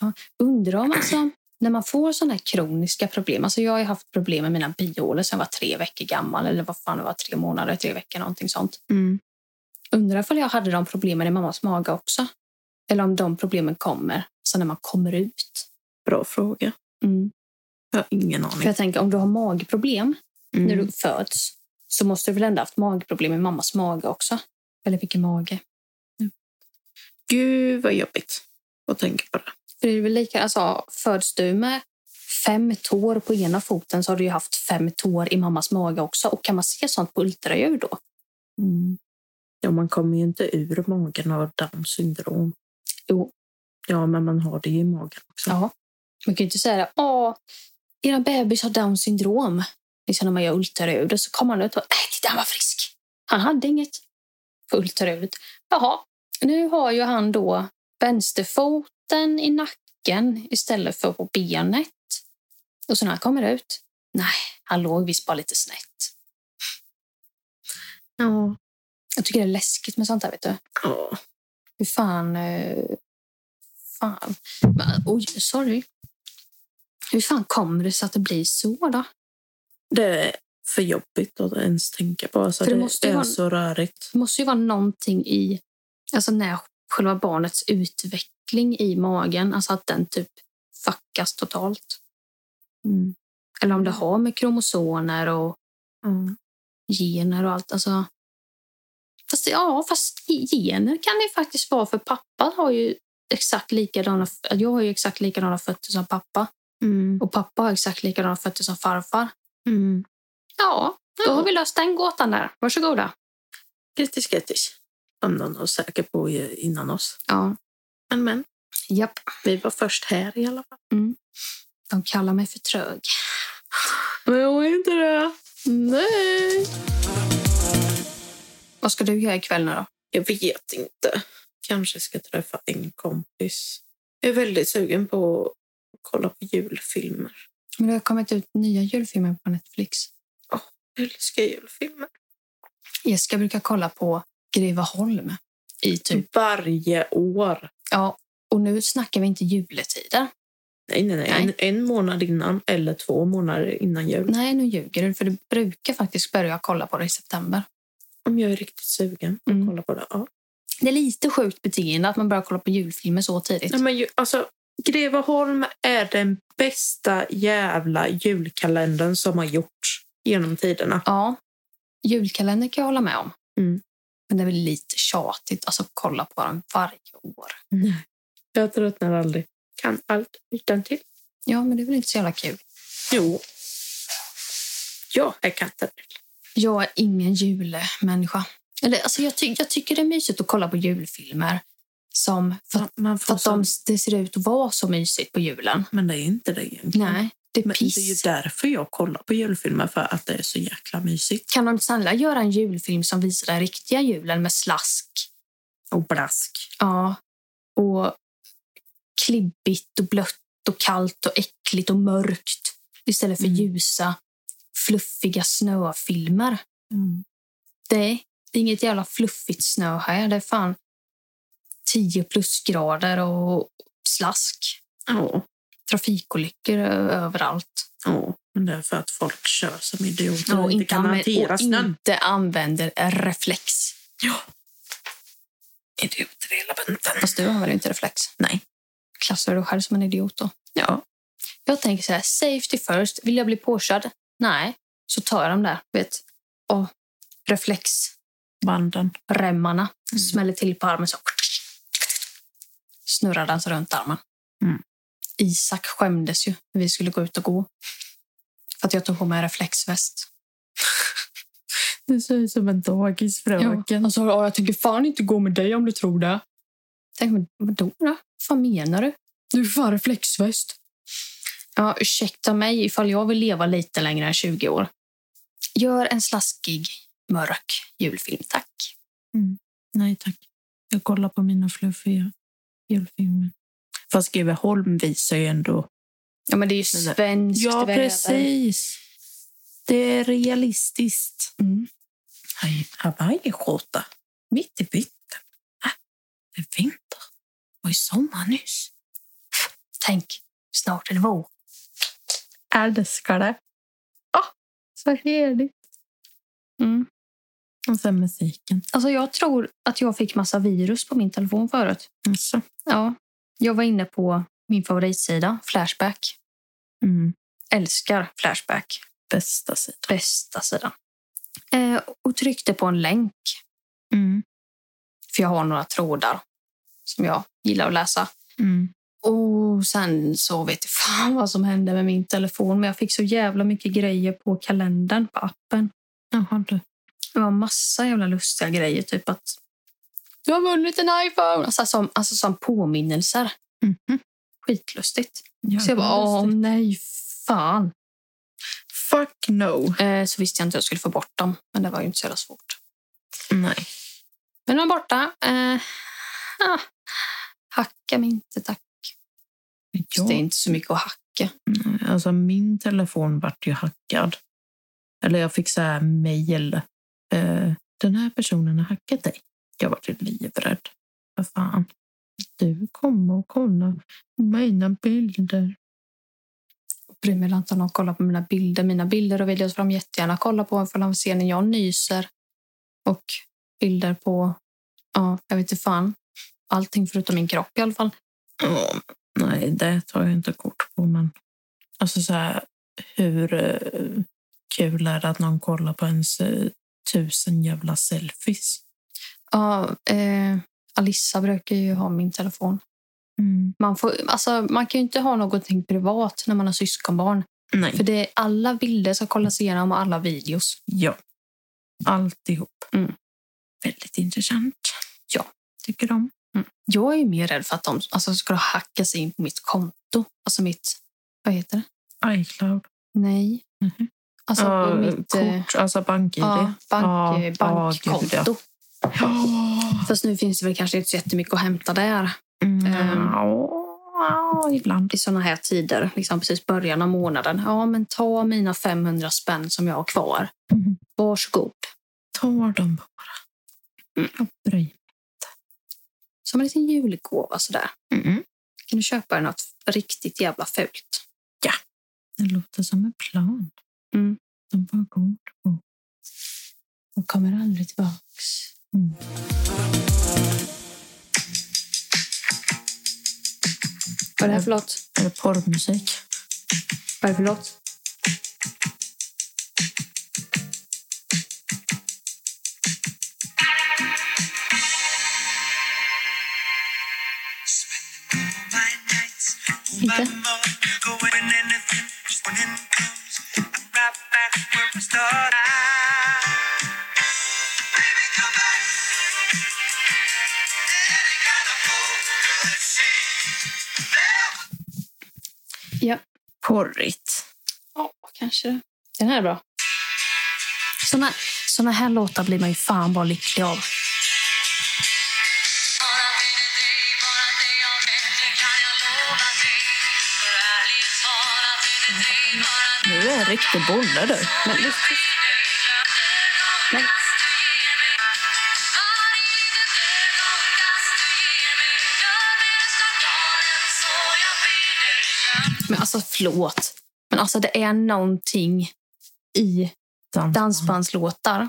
[SPEAKER 2] skönt.
[SPEAKER 1] undrar om alltså, när man får sådana här kroniska problem. Alltså jag har ju haft problem med mina bihålor sedan jag var tre veckor gammal. Eller vad fan det var, tre månader, tre veckor, någonting sånt.
[SPEAKER 2] Mm.
[SPEAKER 1] Undrar ifall jag hade de problemen i mammas mage också. Eller om de problemen kommer, så när man kommer ut.
[SPEAKER 2] Bra fråga. Jag har ingen aning.
[SPEAKER 1] För jag tänker, om du har magproblem
[SPEAKER 2] Mm.
[SPEAKER 1] när du föds så måste du väl ändå haft magproblem i mammas mage också? Eller vilken mage?
[SPEAKER 2] Gud vad jobbigt att tänka på det.
[SPEAKER 1] För det är väl lika, alltså, föds du med fem tår på ena foten så har du ju haft fem tår i mammas mage också. Och kan man se sånt på ultraljud då?
[SPEAKER 2] Mm. Ja, man kommer ju inte ur magen av Downs syndrom.
[SPEAKER 1] Jo.
[SPEAKER 2] Ja, men man har det ju i magen också.
[SPEAKER 1] Ja. Man kan ju inte säga att era bebis har down syndrom. Liksom när man gör ultraljud och så kommer han ut och äh, titta han var frisk. Han hade inget. På ultraljudet. Jaha, nu har ju han då vänsterfoten i nacken istället för på benet. Och så när han kommer ut, nej, han låg visst bara lite snett.
[SPEAKER 2] Ja.
[SPEAKER 1] Jag tycker det är läskigt med sånt här, vet du.
[SPEAKER 2] ja.
[SPEAKER 1] Hur fan... eh, Fan. Men, Oj, sorry. Hur fan kommer det sig att det blir så då?
[SPEAKER 2] Det är för jobbigt att ens tänka på. Alltså,
[SPEAKER 1] För
[SPEAKER 2] det
[SPEAKER 1] det måste ju
[SPEAKER 2] är
[SPEAKER 1] vara-
[SPEAKER 2] så rörigt.
[SPEAKER 1] Det måste ju vara någonting i... Alltså när själva barnets utveckling i magen, alltså att den typ fuckas totalt.
[SPEAKER 2] Mm.
[SPEAKER 1] Eller om det har med kromosomer och
[SPEAKER 2] Ja.
[SPEAKER 1] gener och allt. Alltså, fast, ja, fast gener kan det ju faktiskt vara för pappa har ju exakt likadana, jag har ju exakt likadana fötter som pappa.
[SPEAKER 2] Mm.
[SPEAKER 1] Och pappa har exakt likadana fötter som farfar.
[SPEAKER 2] Mm.
[SPEAKER 1] Ja, då har vi löst den gåtan där. Varsågoda.
[SPEAKER 2] Grattis, grattis. Om någon var säker på ju innan oss.
[SPEAKER 1] Ja,
[SPEAKER 2] Men, men.
[SPEAKER 1] japp.
[SPEAKER 2] Vi var först här i alla fall.
[SPEAKER 1] De kallar mig för trög.
[SPEAKER 2] Men jag är inte det. Nej.
[SPEAKER 1] Vad ska du göra ikväll nu då?
[SPEAKER 2] Jag vet inte. Kanske ska träffa en kompis. Jag är väldigt sugen på att kolla på julfilmer.
[SPEAKER 1] Men det har kommit ut nya julfilmer på Netflix.
[SPEAKER 2] Jag älskar julfilmer.
[SPEAKER 1] Jessica brukar kolla på Greveholm i
[SPEAKER 2] Mm.
[SPEAKER 1] typ...
[SPEAKER 2] Varje år.
[SPEAKER 1] Ja, och nu snackar vi inte juletider.
[SPEAKER 2] Nej, nej, nej. Mm.
[SPEAKER 1] Nej.
[SPEAKER 2] En, en månad innan eller två månader innan jul.
[SPEAKER 1] Nej, nu ljuger du, för du brukar faktiskt börja kolla på det i september.
[SPEAKER 2] Om jag är riktigt sugen på
[SPEAKER 1] Mm.
[SPEAKER 2] att kolla på det. Ja.
[SPEAKER 1] Det är lite sjukt beteende att man börjar kolla på julfilmer så tidigt.
[SPEAKER 2] Nej, men ju, alltså, Greveholm är den bästa jävla julkalendern som har gjorts genom tiderna.
[SPEAKER 1] Ja, julkalender kan jag hålla med om.
[SPEAKER 2] Mm.
[SPEAKER 1] Men det är väl lite tjatigt alltså, att kolla på den varje år.
[SPEAKER 2] Jag tröttnar aldrig. Kan allt utan till.
[SPEAKER 1] Ja, men det är väl inte så jävla kul.
[SPEAKER 2] Jo. Jag är katten.
[SPEAKER 1] Jag är ingen julmänniska. Eller, alltså, jag, ty- jag tycker det är mysigt att kolla på julfilmer som... För att,
[SPEAKER 2] Man
[SPEAKER 1] för att de, det ser ut att vara så mysigt på julen.
[SPEAKER 2] Men det är inte det egentligen.
[SPEAKER 1] Nej, det är
[SPEAKER 2] Men
[SPEAKER 1] piss.
[SPEAKER 2] det är ju därför jag kollar på julfilmer, för att det är så jäkla mysigt.
[SPEAKER 1] Kan de snälla göra en julfilm som visar den riktiga julen med slask?
[SPEAKER 2] Och blask.
[SPEAKER 1] Ja. Och klibbigt och blött och kallt och äckligt och mörkt. Istället för
[SPEAKER 2] Mm.
[SPEAKER 1] ljusa, fluffiga snöfilmer.
[SPEAKER 2] Mm.
[SPEAKER 1] Nej, det är inget jävla fluffigt snö här. Det är fan 10 plusgrader och slask.
[SPEAKER 2] Ja,
[SPEAKER 1] Trafikolyckor ö- överallt.
[SPEAKER 2] ja. Men det är för att folk kör som idioter
[SPEAKER 1] Ja,
[SPEAKER 2] och inte kan
[SPEAKER 1] anvä-
[SPEAKER 2] hantera
[SPEAKER 1] och
[SPEAKER 2] snön.
[SPEAKER 1] inte använder reflex.
[SPEAKER 2] Idioter hela bunten.
[SPEAKER 1] Fast du använder ju inte reflex.
[SPEAKER 2] Nej.
[SPEAKER 1] Klassar du dig själv som en idiot då?
[SPEAKER 2] Ja.
[SPEAKER 1] Jag tänker så här, safety first. Vill jag bli påkörd? Nej. Så tar jag de där, vet. Och reflexremmarna
[SPEAKER 2] Banden. Mm.
[SPEAKER 1] smäller till på armen så. Snurrar den så runt armen.
[SPEAKER 2] Mm.
[SPEAKER 1] Isak skämdes ju när vi skulle gå ut och gå. För att jag tog på mig en reflexväst.
[SPEAKER 2] Du ser ut som en dagisfröken.
[SPEAKER 1] Ja. Han sa, "Ja, jag tänker fan inte gå med dig om du tror det. Tänk, men vadå då? Vad menar du? Du är fan reflexväst. Ja, ursäkta mig ifall jag vill leva lite längre än 20 år. Gör en slaskig, mörk julfilm, tack.
[SPEAKER 2] Nej tack. Jag kollar på mina fluffiga julfilmer. Fast Greveholm visar ju ändå...
[SPEAKER 1] Ja, men det är ju
[SPEAKER 2] Men det-
[SPEAKER 1] svenskt väder.
[SPEAKER 2] Det är realistiskt.
[SPEAKER 1] Mm.
[SPEAKER 2] Haj- Hawaiiskjorta. Mitt i vintern. Ah, Det är vinter. Och i sommar nyss.
[SPEAKER 1] Tänk, snart är det vår.
[SPEAKER 2] Älskar det. Ah, så härligt. Och sen musiken.
[SPEAKER 1] Alltså, jag tror att jag fick massa virus på min telefon förut.
[SPEAKER 2] Alltså.
[SPEAKER 1] Ja, jag var inne på min favoritsida, Flashback.
[SPEAKER 2] Mm.
[SPEAKER 1] Älskar Flashback.
[SPEAKER 2] Bästa sidan.
[SPEAKER 1] bästa sidan. Eh, och tryckte på en länk,
[SPEAKER 2] Mm.
[SPEAKER 1] för jag har några trådar som jag gillar att läsa.
[SPEAKER 2] Mm.
[SPEAKER 1] Och sen så vet jag fan vad som hände med min telefon. Men jag fick så jävla mycket grejer på kalendern, på appen.
[SPEAKER 2] Jaha, du.
[SPEAKER 1] Det var massa jävla lustiga grejer. Typ att du har vunnit en iPhone. Alltså som, alltså som påminnelser.
[SPEAKER 2] Mhm.
[SPEAKER 1] Skitlustigt. Så jag
[SPEAKER 2] Jävla
[SPEAKER 1] bara, åh
[SPEAKER 2] lustigt.
[SPEAKER 1] nej, fan.
[SPEAKER 2] Fuck no.
[SPEAKER 1] Eh, så visste jag inte hur jag skulle få bort dem. Men det var ju inte så jävla svårt.
[SPEAKER 2] Nej.
[SPEAKER 1] Men de var borta. Eh, ah, hacka mig inte, tack.
[SPEAKER 2] Ja.
[SPEAKER 1] Det är inte så mycket att hacka.
[SPEAKER 2] Alltså min telefon vart ju hackad. Eller jag fick så här mejl. Eh, den här personen har hackat dig. Jag vart ju livrädd. Vad fan. Du kommer och kolla mina bilder.
[SPEAKER 1] bryr mig inte om någon kollar på mina bilder. Mina bilder och videos får de jättegärna kolla på för de ser när jag nyser. Och bilder på, ja, jag vet inte fan. Allting förutom min kropp i alla fall.
[SPEAKER 2] Ja, nej, det tar jag inte kort på. Men alltså så här, hur eh, kul är det att någon kollar på ens eh, tusen jävla selfies?
[SPEAKER 1] Ja, eh, Alissa brukar ju ha min telefon.
[SPEAKER 2] Mm.
[SPEAKER 1] Man, får, alltså, man kan ju inte ha någonting privat när man har syskonbarn.
[SPEAKER 2] Nej.
[SPEAKER 1] För det är alla bilder som kollas igenom och alla videos.
[SPEAKER 2] Ja. Alltihop.
[SPEAKER 1] Mm.
[SPEAKER 2] Väldigt intressant.
[SPEAKER 1] Ja.
[SPEAKER 2] Tycker om.
[SPEAKER 1] Jag är ju mer rädd för att de alltså, ska hacka sig in på mitt konto. Alltså mitt, vad heter det?
[SPEAKER 2] iCloud.
[SPEAKER 1] Nej.
[SPEAKER 2] Mhm.
[SPEAKER 1] Alltså på
[SPEAKER 2] Ja,
[SPEAKER 1] mitt... eh,
[SPEAKER 2] kort, alltså bank-id.
[SPEAKER 1] Ja, bank,
[SPEAKER 2] Ja, ja, gud, ja.
[SPEAKER 1] bankkonto. Fast nu finns det väl kanske inte så jättemycket att hämta där
[SPEAKER 2] Mm.
[SPEAKER 1] Ehm.
[SPEAKER 2] ja, ibland.
[SPEAKER 1] i såna här tider. Liksom precis början av månaden. Ja, men ta mina 500 spänn som jag har kvar.
[SPEAKER 2] Mhm.
[SPEAKER 1] Varsågod.
[SPEAKER 2] Tar de bara.
[SPEAKER 1] Mm.
[SPEAKER 2] Jag bryr mig.
[SPEAKER 1] Som en liten julgåva sådär.
[SPEAKER 2] Mm.
[SPEAKER 1] Kan du köpa dig något riktigt jävla fult?
[SPEAKER 2] Det låter som en plan.
[SPEAKER 1] Mm.
[SPEAKER 2] De var god på.
[SPEAKER 1] Och kommer aldrig tillbaks.
[SPEAKER 2] Mm.
[SPEAKER 1] Vad är det här för låt?
[SPEAKER 2] Är det porrmusik?
[SPEAKER 1] Vad är det för låt?
[SPEAKER 3] Inte?
[SPEAKER 2] Porrigt.
[SPEAKER 1] Ja, kanske det. Den här är bra. Såna, såna här låtar blir man ju fan bara lycklig av.
[SPEAKER 2] Nu är jag en riktig bolle du.
[SPEAKER 1] Men lycklig. Nej. Men alltså, förlåt. Men alltså, det är någonting i
[SPEAKER 2] Dans-
[SPEAKER 1] dansbandslåtar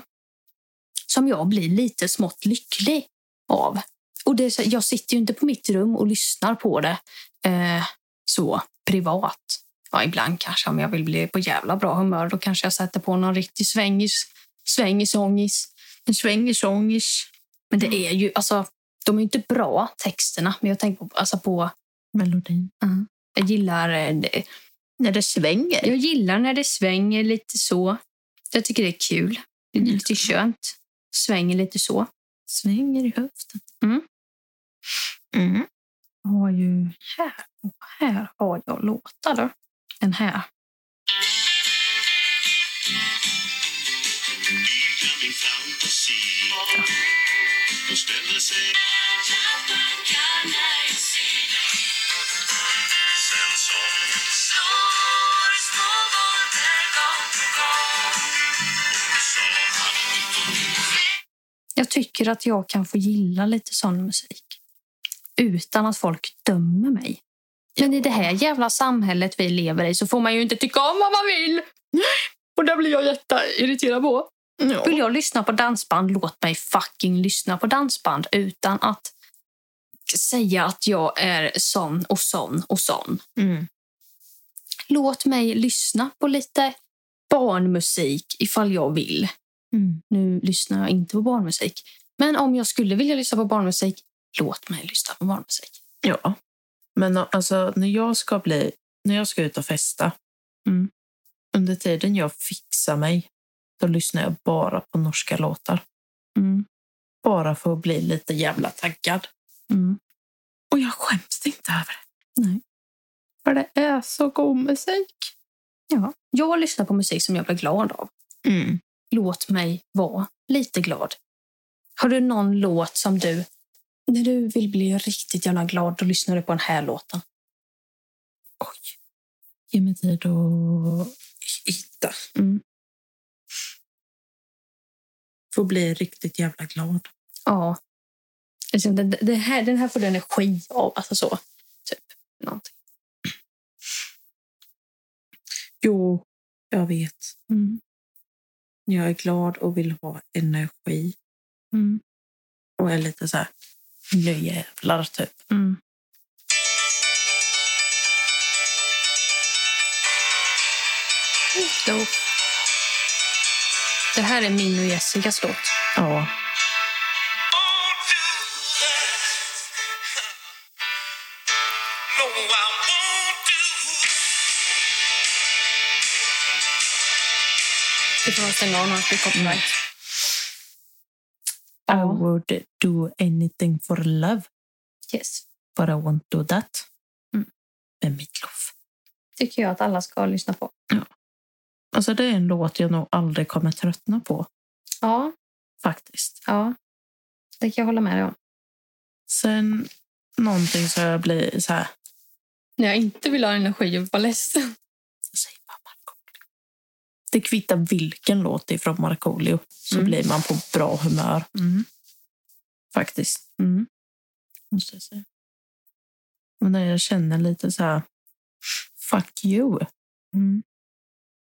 [SPEAKER 1] som jag blir lite smått lycklig av. Och det, är så- jag sitter ju inte på mitt rum och lyssnar på det eh, så privat. Ja, ibland kanske om jag vill bli på jävla bra humör. Då kanske jag sätter på någon riktig svängis, svängisångis.
[SPEAKER 2] En svängisångis.
[SPEAKER 1] Men det är ju, alltså, de är ju inte bra texterna. Men jag tänker på, alltså på
[SPEAKER 2] Melodin.
[SPEAKER 1] jag gillar, eh, det-
[SPEAKER 2] När det svänger.
[SPEAKER 1] jag gillar när det svänger lite så. Jag tycker det är kul. Det är
[SPEAKER 2] Mm.
[SPEAKER 1] lite skönt. Svänger lite så.
[SPEAKER 2] svänger i höften.
[SPEAKER 1] Mm.
[SPEAKER 2] Mm.
[SPEAKER 1] Jag har ju här och här har jag låtar. Då. Den här. Jag tycker att jag kan få gilla lite sån musik utan att folk dömer mig. Men i det här jävla samhället vi lever i så får man ju inte tycka om vad man vill. Och det blir jag jätteirriterad på.
[SPEAKER 2] Ja.
[SPEAKER 1] Vill jag lyssna på dansband, låt mig fucking lyssna på dansband utan att säga att jag är sån och sån och sån.
[SPEAKER 2] Mm.
[SPEAKER 1] Låt mig lyssna på lite barnmusik ifall jag vill.
[SPEAKER 2] Mm.
[SPEAKER 1] Nu lyssnar jag inte på barnmusik. Men om jag skulle vilja lyssna på barnmusik, låt mig lyssna på barnmusik.
[SPEAKER 2] ja. Men a- alltså, när jag ska bli, när jag ska ut och festa,
[SPEAKER 1] Mm.
[SPEAKER 2] under tiden jag fixar mig, då lyssnar jag bara på norska låtar.
[SPEAKER 1] Mm.
[SPEAKER 2] Bara för att bli lite jävla taggad.
[SPEAKER 1] Mm.
[SPEAKER 2] Och jag skäms inte över det.
[SPEAKER 1] Nej.
[SPEAKER 2] För det är så god musik.
[SPEAKER 1] Ja. Jag lyssnar på musik som jag blir glad av.
[SPEAKER 2] Mm.
[SPEAKER 1] Låt mig vara lite glad. Har du någon låt som du... När du vill bli riktigt jävla glad, då lyssnar du på den här låten.
[SPEAKER 2] Oj. Ge mig tid att hitta.
[SPEAKER 1] Mm.
[SPEAKER 2] Får bli riktigt jävla glad.
[SPEAKER 1] Ja. Liksom, Den, den, här, den här får du energi av. Alltså så. Typ. Någonting.
[SPEAKER 2] Jo, jag vet.
[SPEAKER 1] Mm.
[SPEAKER 2] Jag är glad och vill ha energi.
[SPEAKER 1] Mm.
[SPEAKER 2] Och är lite så här, nu jävlar typ.
[SPEAKER 1] Mm. Då. Det här är min och Jessicas låt.
[SPEAKER 2] Ja.
[SPEAKER 1] Det får man stänga av när man blir copyright.
[SPEAKER 2] I
[SPEAKER 1] Ja.
[SPEAKER 2] would do anything for love,
[SPEAKER 1] Yes.
[SPEAKER 2] but I won't do that.
[SPEAKER 1] Mm.
[SPEAKER 2] Med mitt lov.
[SPEAKER 1] tycker jag att alla ska lyssna på.
[SPEAKER 2] Alltså det är en låt jag nog aldrig kommer tröttna på
[SPEAKER 1] Ja,
[SPEAKER 2] faktiskt.
[SPEAKER 1] ja. Det kan jag hålla med dig om.
[SPEAKER 2] Sen någonting så jag blir så här,
[SPEAKER 1] När jag inte vill ha energi och vara ledsen.
[SPEAKER 2] säger man Markoolio. Det kvittar vilken låt det är från Markoolio så
[SPEAKER 1] Mm.
[SPEAKER 2] blir man på bra humör
[SPEAKER 1] Mm.
[SPEAKER 2] faktiskt.
[SPEAKER 1] Mm.
[SPEAKER 2] Måste jag säga. Och när jag känner lite så här, fuck you,
[SPEAKER 1] Mm.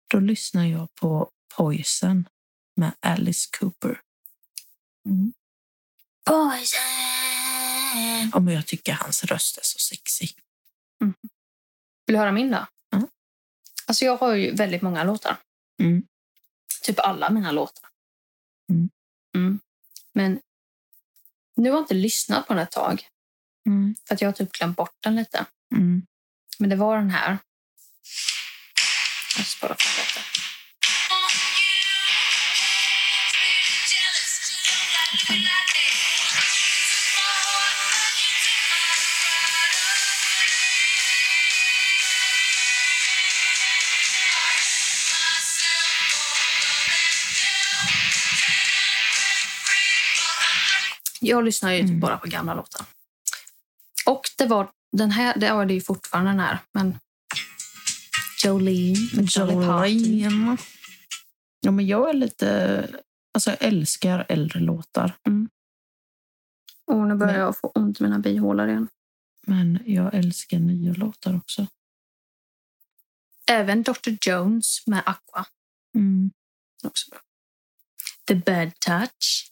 [SPEAKER 2] då lyssnar jag på Poison med Alice Cooper.
[SPEAKER 1] Mm. Poison!
[SPEAKER 2] Ja, men jag tycker hans röst är så sexig.
[SPEAKER 1] Vill du höra min då?
[SPEAKER 2] Ja.
[SPEAKER 1] Alltså jag har ju väldigt många låtar.
[SPEAKER 2] Mm.
[SPEAKER 1] Typ alla mina låtar.
[SPEAKER 2] Mm.
[SPEAKER 1] Mm. Men nu har jag inte lyssnat på den ett tag.
[SPEAKER 2] Mm.
[SPEAKER 1] För att jag har typ glömt bort den lite. Men det var den här. Jag ska bara få låta. Jag lyssnar ju typ
[SPEAKER 2] Mm.
[SPEAKER 1] bara på gamla låtar. Och det var den här, det var det ju fortfarande den här, men... Jolene med Jolly Parton.
[SPEAKER 2] Jolene. Ja, men jag är lite... Alltså, jag älskar äldre låtar,
[SPEAKER 1] Och nu börjar
[SPEAKER 2] Men-
[SPEAKER 1] jag få ont i mina bihålor igen.
[SPEAKER 2] men jag älskar nya låtar också.
[SPEAKER 1] Även Dr. Jones med Aqua.
[SPEAKER 2] Mm.
[SPEAKER 1] är Också bra. The Bad Touch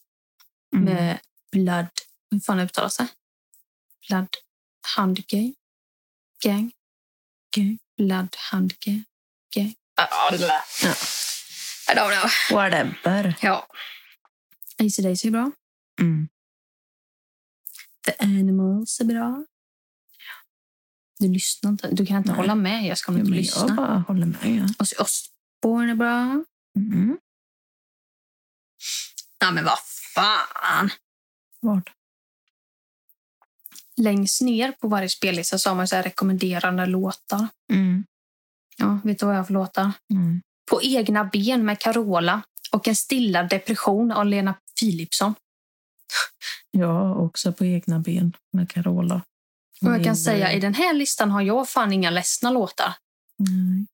[SPEAKER 2] Mm.
[SPEAKER 1] med Blood... Hur fan uttalas det? Blood Hand Gang? Gang?
[SPEAKER 2] Gang.
[SPEAKER 1] Blood Hand Gang? Gang? Ah, ah,
[SPEAKER 2] Ja.
[SPEAKER 1] I don't know.
[SPEAKER 2] Whatever.
[SPEAKER 1] Ja. Easy Daisy är bra.
[SPEAKER 2] Mm.
[SPEAKER 1] The Animals är bra. Du lyssnar inte. Du kan inte
[SPEAKER 2] Nej.
[SPEAKER 1] hålla med. Jag ska
[SPEAKER 2] Jo,
[SPEAKER 1] inte
[SPEAKER 2] men
[SPEAKER 1] lyssna.
[SPEAKER 2] jag bara håller med. Ja.
[SPEAKER 1] Ozzy Osbourne är bra.
[SPEAKER 2] Mm.
[SPEAKER 1] Nej, men vad fan!
[SPEAKER 2] Vad?
[SPEAKER 1] Längst ner på varje spellista så har man så här rekommenderande låtar.
[SPEAKER 2] Mm.
[SPEAKER 1] Ja, vet du vad jag har för låtar?
[SPEAKER 2] Mm.
[SPEAKER 1] På egna ben med Carola och En stilla depression av Lena Philipsson.
[SPEAKER 2] Jag också på egna ben med Carola.
[SPEAKER 1] Och jag
[SPEAKER 2] Min-
[SPEAKER 1] kan säga, i den här listan har jag fan inga ledsna låtar.
[SPEAKER 2] Nej.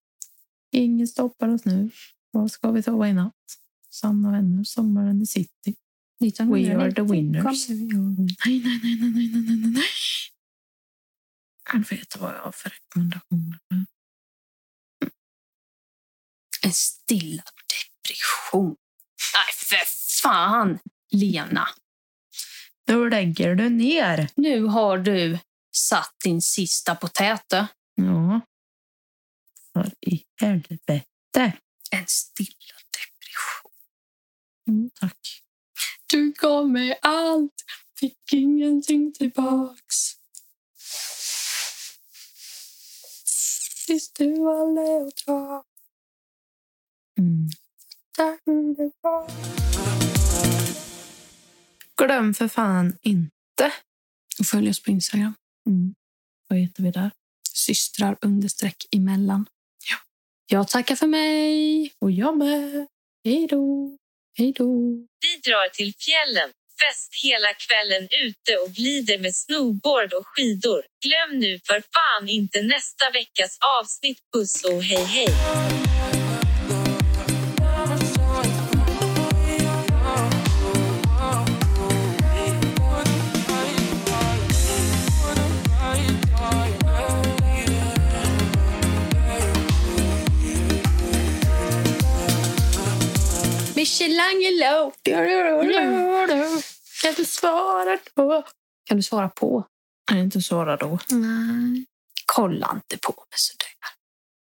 [SPEAKER 2] Ingen stoppar oss nu. Vad ska vi ta i natt? Sanna vänner, sommaren i city. We are the winners.
[SPEAKER 1] Kom.
[SPEAKER 2] Nej, nej, nej, nej, nej, nej, nej, nej, nej. Jag vet vad jag har för rekommendationer.
[SPEAKER 1] En stilla depression. Nej, för fan! Lena,
[SPEAKER 2] Då lägger du ner.
[SPEAKER 1] nu har du satt din sista potäte.
[SPEAKER 2] Ja. För i helvete.
[SPEAKER 1] En stilla depression.
[SPEAKER 2] Mm, tack.
[SPEAKER 1] Du gav mig allt, fick ingenting tillbaks. Stuvalle och dra.
[SPEAKER 2] Mm.
[SPEAKER 1] Där det var.
[SPEAKER 2] Glöm för fan inte.
[SPEAKER 1] Och följ oss på Instagram. Mm.
[SPEAKER 2] Vad heter vi där?
[SPEAKER 1] Systrar understreck emellan. Ja. Jag tackar för mig.
[SPEAKER 2] Och jag med.
[SPEAKER 1] Hej då. Hej då.
[SPEAKER 3] Vi drar till fjällen. Fest hela kvällen ute och glider med snowboard och skidor. Glöm nu för fan inte nästa veckas avsnitt. Puss och hej hej!
[SPEAKER 1] Michelangelo.
[SPEAKER 2] Kan du svara då?
[SPEAKER 1] Kan du svara på?
[SPEAKER 2] Kan inte svara då.
[SPEAKER 1] Nej. Kolla inte på mig sådär.